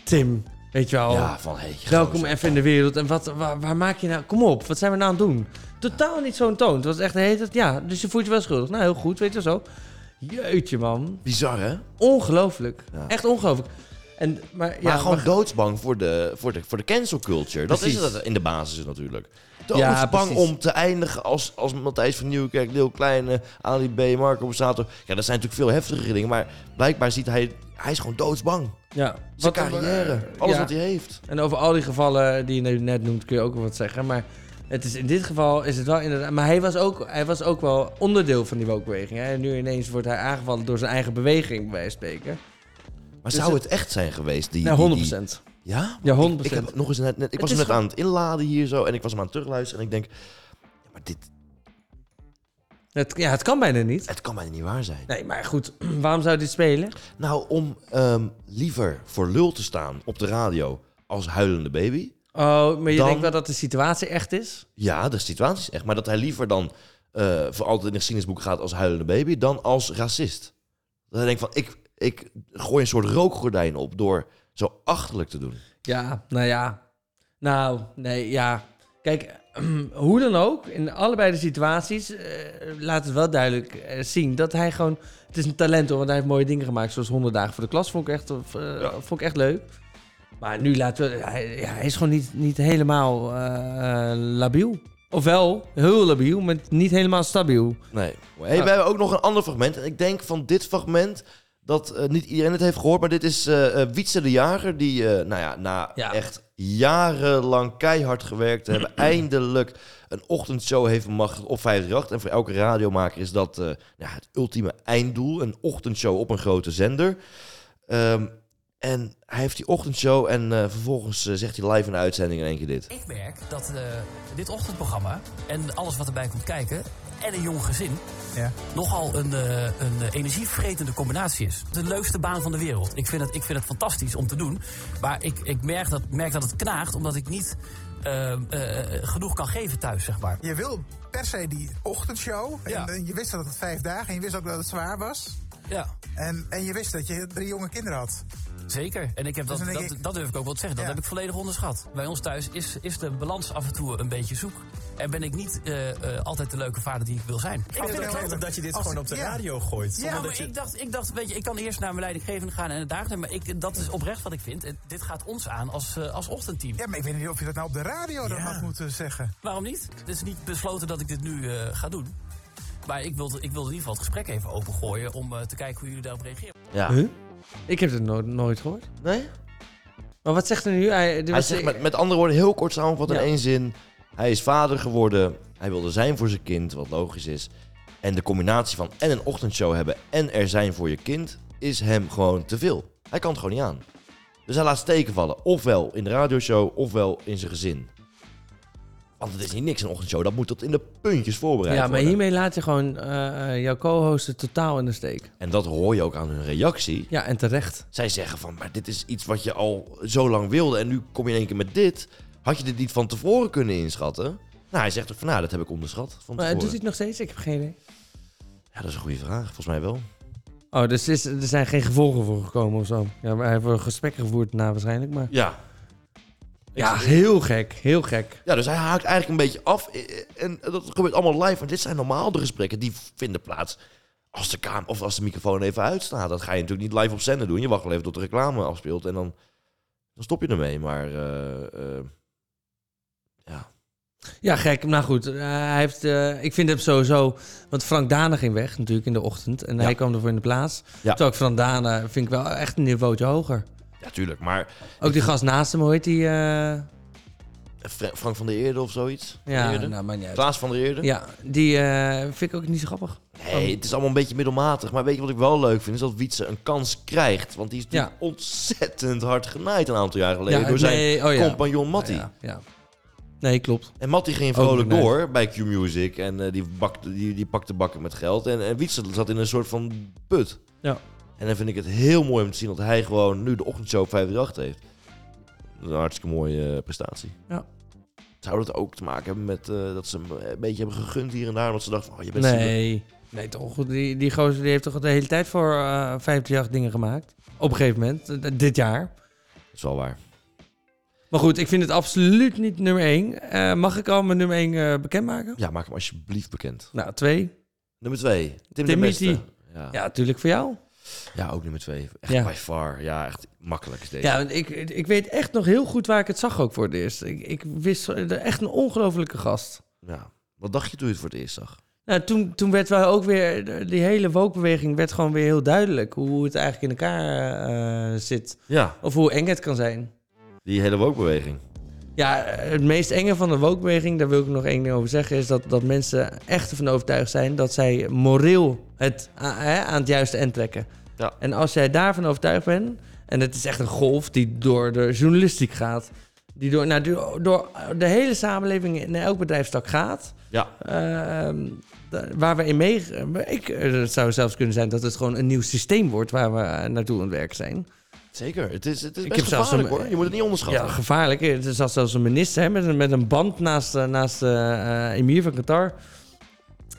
B: Tim, weet je wel.
A: Ja, van, hey,
B: welkom
A: gozer.
B: even in de wereld. En wat, waar, waar maak je nou? Kom op, wat zijn we nou aan het doen? Totaal niet zo'n toon. Het was echt de hele tijd, ja, dus je voelt je wel schuldig. Nou, heel goed, weet je wel zo. Jeetje, man.
A: Bizar, hè?
B: Ongelooflijk.
A: Ja.
B: Echt ongelooflijk. En, maar, ja,
A: maar gewoon
B: maar-
A: doodsbang voor de, voor, de, voor de cancel culture. Dat
B: Precies.
A: is het in de basis natuurlijk.
B: Ja,
A: Doodsbang
B: precies.
A: om te eindigen als, als Matthijs van Nieuwkerk, Leeuw Kleine, Ali B, Marco Borsato. Ja, dat zijn natuurlijk veel heftigere dingen. Maar blijkbaar ziet hij... Hij is gewoon doodsbang.
B: Ja. eh,
A: Zijn carrière. Alles wat hij heeft.
B: En over al die gevallen die je net noemt kun je ook wel wat zeggen. Maar het is, in dit geval is het wel inderdaad... Maar hij was ook, hij was ook wel onderdeel van die wokebeweging. hè. En nu ineens wordt hij aangevallen door zijn eigen beweging, bij wijze van spreken.
A: Maar
B: Dus
A: zou het echt zijn geweest? Die,
B: Nou,
A: die-
B: 100%.
A: die- Ja?
B: Ja, 100%.
A: Ik, ik, heb nog eens net, net- ik
B: Het
A: was hem
B: is
A: net
B: gewoon-
A: aan het inladen hier zo en ik was hem aan het terugluisteren en ik denk... ja, maar dit,
B: Het, ja, het kan bijna niet.
A: Het kan bijna niet waar zijn.
B: Nee, maar goed, waarom zou dit spelen?
A: Nou, om ehm, liever voor lul te staan op de radio als huilende baby.
B: Oh, maar je
A: Dan-
B: denkt wel dat de situatie echt is?
A: Ja, de situatie is echt. Maar dat hij liever dan eh, voor altijd in het geschiedenisboek gaat als huilende baby dan als racist. Dat hij denkt van, ik, ik gooi een soort rookgordijn op door zo achterlijk te doen.
B: Ja, nou ja. Nou, nee, ja. Kijk, hoe dan ook, in allebei de situaties eh, laat het wel duidelijk eh, zien dat hij gewoon... Het is een talent hoor, want hij heeft mooie dingen gemaakt. Zoals 100 dagen voor de klas vond ik echt, of, eh, vond ik echt leuk. Maar nu laten we... Hij, ja, hij is gewoon niet, niet helemaal eh, eh, labiel. Ofwel, heel labiel, maar niet helemaal stabiel.
A: Nee. Hey, We hebben ook nog een ander fragment. En ik denk van dit fragment dat eh, niet iedereen het heeft gehoord. Maar dit is eh eh, Wietse de Jager. Die eh, nou ja, na echt jarenlang keihard gewerkt te hebben. eindelijk een ochtendshow heeft bemachtigd op 538. En voor elke radiomaker is dat eh, ja, het ultieme einddoel. Een ochtendshow op een grote zender. Ehm, en hij heeft die ochtendshow. En eh, vervolgens eh, zegt hij live in de uitzending in één keer dit.
P: Ik merk dat eh, dit ochtendprogramma en alles wat erbij komt kijken en een jong gezin nogal een, eh, een eh, energievretende combinatie is. De leukste baan van de wereld. Ik vind het, ik vind het fantastisch om te doen. Maar ik, ik merk, dat, merk dat het knaagt omdat ik niet eh, eh, genoeg kan geven thuis, zeg maar.
X: Je wil per se die ochtendshow.
P: Ja.
X: En, eh, je wist dat het vijf dagen en je wist ook dat het zwaar was.
P: Ja.
X: En, en je wist dat je drie jonge kinderen had.
P: Zeker. En ik heb
X: Dus dan
P: dat,
X: denk
P: dat,
X: ik-
P: dat durf ik ook wel te zeggen. Dat
X: Ja.
P: heb ik volledig onderschat. Bij ons thuis is, is de balans af en toe een beetje zoek. En ben ik niet eh, eh, altijd de leuke vader die ik wil zijn.
X: Ik vind het wel- als ik- ja. Ja,
P: Ja,
X: maar
P: maar ik dacht, ik dacht, weet je, ik kan eerst naar mijn leidinggevende gaan en het daar. Maar ik, dat is oprecht wat ik vind. Het- dit gaat ons aan als, eh, als ochtendteam.
X: Ja, maar ik weet niet of je dat nou op de radio dan had moeten zeggen.
P: Waarom niet? Het is niet besloten dat ik dit nu eh, ga doen. Maar ik wilde, ik wilde in ieder geval het gesprek even opengooien om eh, te kijken hoe jullie daarop reageren.
A: Ja.
B: Ik heb het no- nooit gehoord.
A: Nee?
B: Maar wat zegt hij nu? Hij, er
A: Hij
B: was-
A: zegt met, met andere woorden, heel kort samengevat in
B: Dus Ja.
A: één zin. Hij is vader geworden. Hij wilde zijn voor zijn kind, wat logisch is. En de combinatie van en een ochtendshow hebben en er zijn voor je kind is hem gewoon te veel. Hij kan het gewoon niet aan. Dus hij laat steken vallen. Ofwel in de radioshow, ofwel in zijn gezin. Want het is niet niks een ochtendshow. Dat moet tot in de puntjes voorbereid
B: Ja, maar
A: worden.
B: hiermee laat je gewoon eh, eh, jouw co-hosten totaal in de steek.
A: En dat hoor je ook aan hun reactie.
B: Ja, en terecht.
A: Zij zeggen van, maar dit is iets wat je al zo lang wilde en nu kom je in één keer met dit. Had je dit niet van tevoren kunnen inschatten? Nou, hij zegt ook van, nou, dat heb ik onderschat van
B: Maar
A: tevoren.
B: doet hij het nog steeds? Ik heb geen idee.
A: Ja, dat is een goede vraag. Volgens mij wel.
B: Oh, dus is, er zijn geen gevolgen voor gekomen of zo. Ja, maar hij heeft wel gesprekken gevoerd na waarschijnlijk, maar...
A: Ja.
B: Ja, heel gek. Heel gek.
A: Ja, dus hij haakt eigenlijk een beetje af. eh, En dat gebeurt allemaal live. Want dit zijn normaal de gesprekken. Die vinden plaats als de kamer of als de microfoon even uitstaat. Dat ga je natuurlijk niet live op zender doen. Je wacht wel even tot de reclame afspeelt. En dan, dan stop je ermee. Maar eh, eh,
B: Ja, gek. Nou goed, eh, hij heeft, eh, ik vind hem sowieso... Want Frank Dane ging weg natuurlijk in de ochtend. En
A: Ja.
B: hij kwam ervoor in de plaats.
A: Ja.
B: Terwijl ik Frank Dane vind ik wel echt een niveautje hoger.
A: ja, tuurlijk. Maar eh,
B: Ook die gast naast hem, hoe heet die? eh,
A: Fra- Frank van der Eerde of zoiets?
B: Ja,
A: Van der Eerde?
B: nou, maakt niet uit.
A: Klaas van der Eerde?
B: Ja, die eh, vind ik ook niet zo grappig.
A: Nee, het is allemaal een beetje middelmatig. Maar weet je wat ik wel leuk vind? Is dat Wietse een kans krijgt. Want die is natuurlijk ontzettend hard genaaid een aantal jaar geleden.
B: Ja,
A: door zijn
B: nee, oh ja.
A: compagnon Matty.
B: Ja, ja. Nee, klopt.
A: En Matty ging
B: Ook
A: vrolijk
B: benauwd.
A: door bij Q-Music. En eh, die, bakte, die, die pakte bakken met geld. En, en Wietse zat in een soort van put.
B: Ja.
A: En dan vind ik het heel mooi om te zien dat hij gewoon nu de ochtendshow op 538 heeft. Dat is een hartstikke mooie eh, prestatie.
B: Ja.
A: Zou dat ook te maken hebben met eh, dat ze hem een beetje hebben gegund hier en daar? Omdat ze dachten van, oh, je bent
B: Nee. Nee, toch. Die, die gozer die heeft toch de hele tijd voor eh 58 dingen gemaakt. Op een gegeven moment. eh, dit jaar.
A: Dat is wel waar.
B: Maar goed, ik vind het absoluut niet nummer 1. mag ik al mijn nummer 1 bekendmaken?
A: Ja, maak hem alsjeblieft bekend.
B: Nou, 2.
A: Nummer 2. Tim, de
B: Timothy.
A: Beste.
B: Ja.
A: Ja.
B: natuurlijk voor jou.
A: ja, ook nummer 2. Echt
B: Ja.
A: by far. Ja, echt makkelijk is deze.
B: Ja, want ik, ik weet echt nog heel goed waar ik het zag ook voor het eerst. Ik, ik wist eh, echt een ongelofelijke gast.
A: Ja. Wat dacht je toen je het voor het eerst zag?
B: Nou, toen, toen werd wel ook weer, die hele wokbeweging werd gewoon weer heel duidelijk. Hoe het eigenlijk in elkaar eh, zit.
A: Ja.
B: Of hoe eng het kan zijn.
A: Die hele wokbeweging.
B: Ja, het meest enge van de wokbeweging, daar wil ik nog één ding over zeggen, is dat, dat mensen echt ervan overtuigd zijn dat zij moreel het a- hè, aan het juiste eind trekken.
A: Ja.
B: En als jij daarvan overtuigd bent, en het is echt een golf die door de journalistiek gaat, die door, nou, door, door de hele samenleving in elk bedrijfstak gaat,
A: Ja.
B: ehm, da- waar we in mee. Ik, het zou zelfs kunnen zijn dat het gewoon een nieuw systeem wordt waar we naartoe aan het werken zijn.
A: Zeker. Het is, het is
B: Ik
A: best
B: heb zelfs
A: gevaarlijk,
B: een-
A: hoor. Je moet het niet onderschatten.
B: Ja, gevaarlijk. Eh, Er zat zelfs een minister hè, met, een, met een band naast, eh, naast eh, eh, emir van Qatar.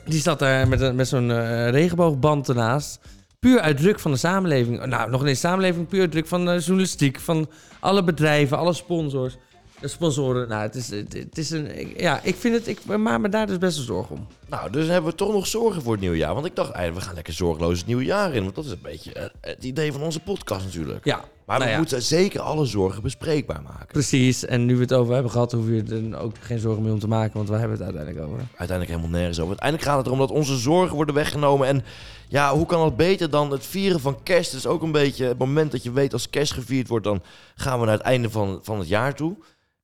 B: Die zat daar met, een- met zo'n eh, regenboogband ernaast. Puur uit druk van de samenleving. Nou, nog eens samenleving, puur uit druk van de journalistiek, van alle bedrijven, alle sponsors. De sponsoren, nou, het is, het, het is een... ik- ja, ik vind het... Ik maak me daar dus best wel zorgen om.
A: Nou, dus hebben we toch nog zorgen voor het nieuwe jaar. Want ik dacht, ey, we gaan lekker zorgeloos het nieuwe jaar in. Want dat is een beetje eh, het idee van onze podcast natuurlijk.
B: Ja,
A: Maar we
B: nou ja.
A: moeten zeker alle zorgen bespreekbaar maken.
B: Precies, en nu we het over hebben gehad, hoef je er dan ook geen zorgen meer om te maken, want waar hebben we het uiteindelijk over?
A: Uiteindelijk helemaal nergens over. Uiteindelijk gaat het erom dat onze zorgen worden weggenomen. En ja, hoe kan dat beter dan het vieren van kerst? Het is ook een beetje het moment dat je weet als kerst gevierd wordt... dan gaan we naar het einde van, van het jaar toe.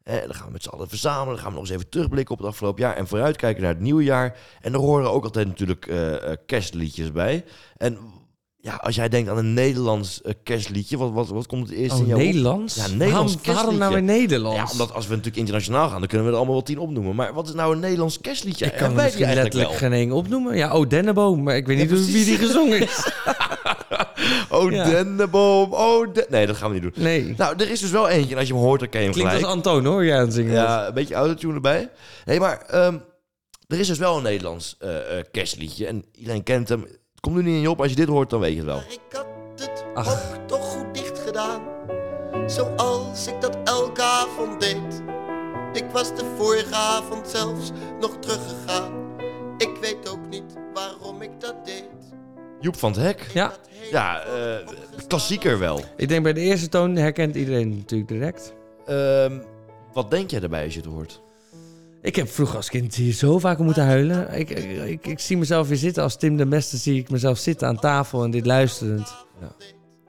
A: Eh, dan gaan we met z'n allen verzamelen. Dan gaan we nog eens even terugblikken op het afgelopen jaar. En vooruitkijken naar het nieuwe jaar. En daar horen ook altijd natuurlijk eh, eh, kerstliedjes bij. En ja, als jij denkt aan een Nederlands eh, kerstliedje... Wat, wat, wat komt het eerst
B: Oh,
A: in jouw op?
B: Nederlands?
A: Ja, Nederlands
B: Waarom- waarom nou
A: kerstliedje.
B: weer Nederlands?
A: Ja, omdat als we natuurlijk internationaal gaan... dan kunnen we er allemaal wel tien opnoemen. Maar wat is nou een Nederlands kerstliedje?
B: Ik kan
A: En
B: er
A: wij
B: misschien
A: die eigenlijk
B: letterlijk
A: wel.
B: geen één opnoemen. Ja, Oh Denneboom, maar ik weet niet
A: precies.
B: wie die gezongen is.
A: Oh,
B: Ja.
A: dennenboom, oh de- Nee, dat gaan we niet doen.
B: Nee.
A: Nou, er is dus wel eentje. En als je hem hoort, dan ken je hem
B: Klinkt als
A: gelijk.
B: Antoon hoor, jij aan het zingen was.
A: ja, een beetje autotune erbij. Nee, maar ehm, er is dus wel een Nederlands eh, eh, kerstliedje. En iedereen kent hem. Het komt nu niet in je op. Als je dit hoort, dan weet je het wel.
E: Ach. Ook toch goed dicht gedaan, zoals ik dat elke avond deed. Ik was de vorige avond zelfs nog teruggegaan. Ik weet ook niet waarom ik dat deed.
A: Joep van het Hek.
B: Ja.
A: Ja, eh, klassieker wel.
B: Ik denk bij de eerste toon herkent iedereen het natuurlijk direct.
A: Ehm, wat denk jij erbij als je het hoort?
B: Ik heb vroeger als kind hier zo vaak om moeten huilen. Ik, ik, ik, ik zie mezelf weer zitten. Als Tim de Beste zie ik mezelf zitten aan tafel en dit luisterend.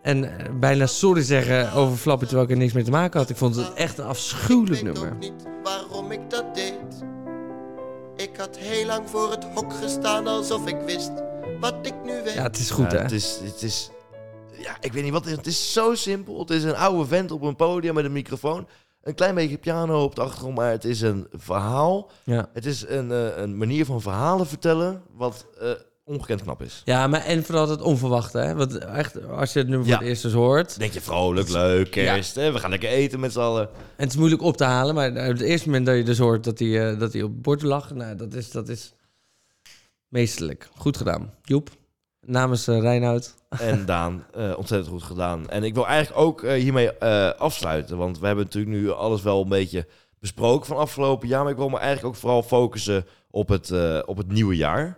B: En eh, bijna sorry zeggen over Flappy terwijl ik er niks mee te maken had. Ik vond het echt een afschuwelijk nummer.
E: Waarom ik dat deed. had heel lang voor het hok gestaan alsof ik wist wat ik nu weet.
A: Ja, Het is, het is, ja, ik weet niet wat het is. Het is zo simpel. Het is een oude vent op een podium met een microfoon. Een klein beetje piano op de achtergrond, maar het is een verhaal.
B: Ja.
A: Het is een, eh, een manier van verhalen vertellen wat eh, ongekend knap is.
B: Ja, maar en vooral het onverwachte. Hè? Want echt, als je het nummer voor het eerst eens hoort...
A: Denk je vrolijk, leuk, kerst. Hè? We gaan lekker eten met z'n allen.
B: En het is moeilijk op te halen, maar op het eerste moment dat je dus hoort dat hij, eh, dat hij op het bord lag... Nou, dat is, dat is meesterlijk. Goed gedaan. Joep, namens eh, Reinoud.
A: En Daan, eh, ontzettend goed gedaan. En ik wil eigenlijk ook eh, hiermee eh, afsluiten. Want we hebben natuurlijk nu alles wel een beetje besproken van afgelopen jaar. Maar ik wil me eigenlijk ook vooral focussen op het, eh, op het nieuwe jaar.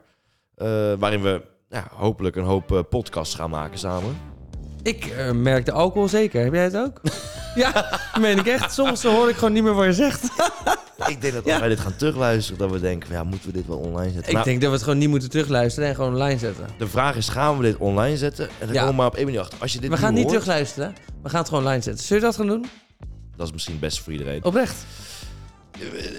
A: Eh, waarin we ja, hopelijk een hoop eh, podcasts gaan maken samen.
B: Ik eh, merk de alcohol zeker. Heb jij het ook? ja, meen ik echt. Soms hoor ik gewoon niet meer wat je zegt.
A: Ik denk dat als wij dit gaan terugluisteren, dat we denken... van, Ja, moeten we dit wel online zetten? Nou,
B: Ik denk dat we het gewoon niet moeten terugluisteren en gewoon online zetten.
A: De vraag is, gaan we dit online zetten? En dan
B: Ja.
A: komen we maar op één manier achter. Als je dit
B: we gaan
A: nu
B: niet
A: hoort,
B: terugluisteren. We gaan het gewoon online zetten. Zullen we dat gaan doen?
A: Dat is misschien best voor iedereen.
B: Oprecht.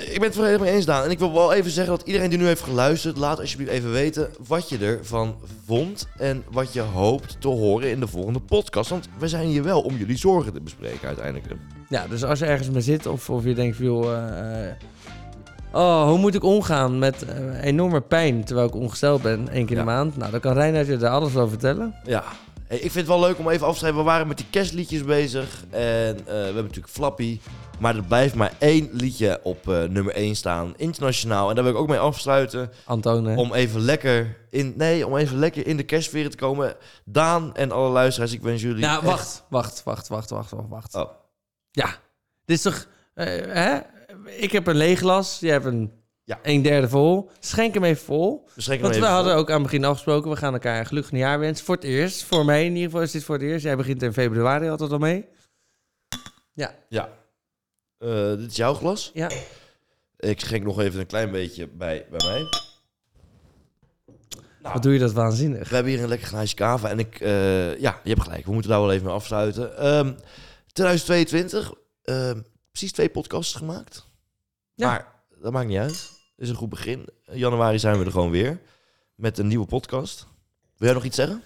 A: Ik ben het volledig mee eens, Daan. En ik wil wel even zeggen dat iedereen die nu heeft geluisterd... laat alsjeblieft even weten wat je ervan vond... en wat je hoopt te horen in de volgende podcast. Want we zijn hier wel om jullie zorgen te bespreken uiteindelijk.
B: Ja, dus als je ergens mee zit of, of je denkt, joh, eh, eh, oh, hoe moet ik omgaan met eh, enorme pijn terwijl ik ongesteld ben, één keer in de maand? Nou, dan kan Reinhard je daar alles over vertellen.
A: Ja. Hey, ik vind het wel leuk om even af te schrijven. We waren met die kerstliedjes bezig. En eh, we hebben natuurlijk Flappy. Maar er blijft maar één liedje op eh, nummer 1 staan. Internationaal. En daar wil ik ook mee afsluiten.
B: Antoon, hè?
A: Om even lekker in, nee, om even lekker in de kerstsfeer te komen. Daan en alle luisteraars, ik wens jullie...
B: Nou,
A: echt-
B: wacht, wacht, wacht, wacht, wacht, wacht, wacht.
A: Oh.
B: Ja, dit is toch... eh, hè? Ik heb een leeg glas, jij hebt een, een derde vol. Schenk hem even vol.
A: schenken
B: Want
A: hem
B: we
A: even
B: hadden
A: vol.
B: ook aan het begin afgesproken, we gaan elkaar een gelukkig nieuwjaar wensen. Voor het eerst, voor mij in ieder geval is dit voor het eerst. Jij begint in februari altijd al mee. Ja.
A: Ja. Eh, dit is jouw glas.
B: Ja.
A: Ik schenk nog even een klein beetje bij, bij mij.
B: Wat doe je dat waanzinnig.
A: We hebben hier een lekker glaasje kava. En ik, eh, ja, je hebt gelijk. We moeten daar wel even mee afsluiten. Ehm, 2022, ehm, precies twee podcasts gemaakt. Maar dat maakt niet uit. Is een goed begin. In januari zijn we er gewoon weer. Met een nieuwe podcast. Wil jij nog iets zeggen?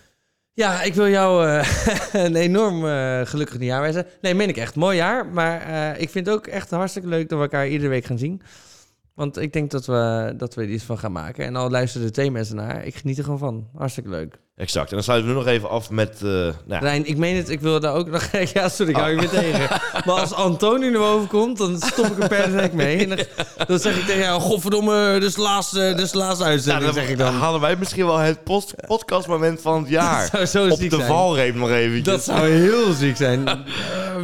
B: Ja, ik wil jou eh, een enorm eh, gelukkig nieuwjaar wensen. Nee, meen ik echt. Mooi jaar. Maar eh, ik vind het ook echt hartstikke leuk dat we elkaar iedere week gaan zien. Want ik denk dat we, dat we er iets van gaan maken. En al luisteren er twee mensen naar, ik geniet er gewoon van. Hartstikke leuk.
A: Exact. En dan sluiten we nu nog even af met... eh, nou ja.
B: Rijn, ik meen het, ik wil daar ook nog... ja, sorry, ik hou
A: Oh.
B: je weer tegen. Maar als Antonio naar boven komt, dan stop ik er per se mee. En dan, dan zeg ik tegen jou, godverdomme, dus laatste, dus laatste
A: Ja,
B: uitzending,
A: dan
B: zeg ik dan.
A: halen wij misschien wel het post podcastmoment van het jaar.
B: Dat zou zo
A: Op
B: ziek
A: de
B: zijn.
A: valreep nog eventjes.
B: Dat zou heel ziek zijn. Eh,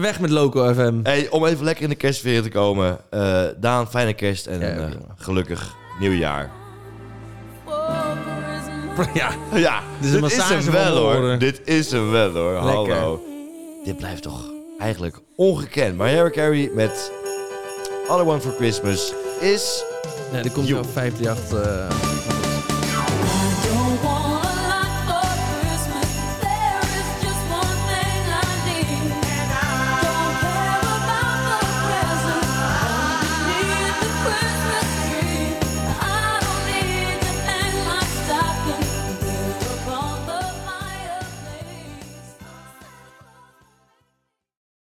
B: weg met Loco FM.
A: Hey, om even lekker in de kerstsfeer te komen. Eh, Daan, fijne kerst en een, eh, gelukkig nieuwjaar.
B: Ja,
A: ja
B: Dit is
A: dit
B: een
A: is
B: massage
A: hem
B: van
A: wel
B: mijn
A: hoor.
B: oren.
A: Dit is hem wel hoor.
B: Lekker.
A: Hallo. Dit blijft toch eigenlijk ongekend. Mariah Carey met Other One for Christmas is...
B: Nee, er komt jouw 538... eh,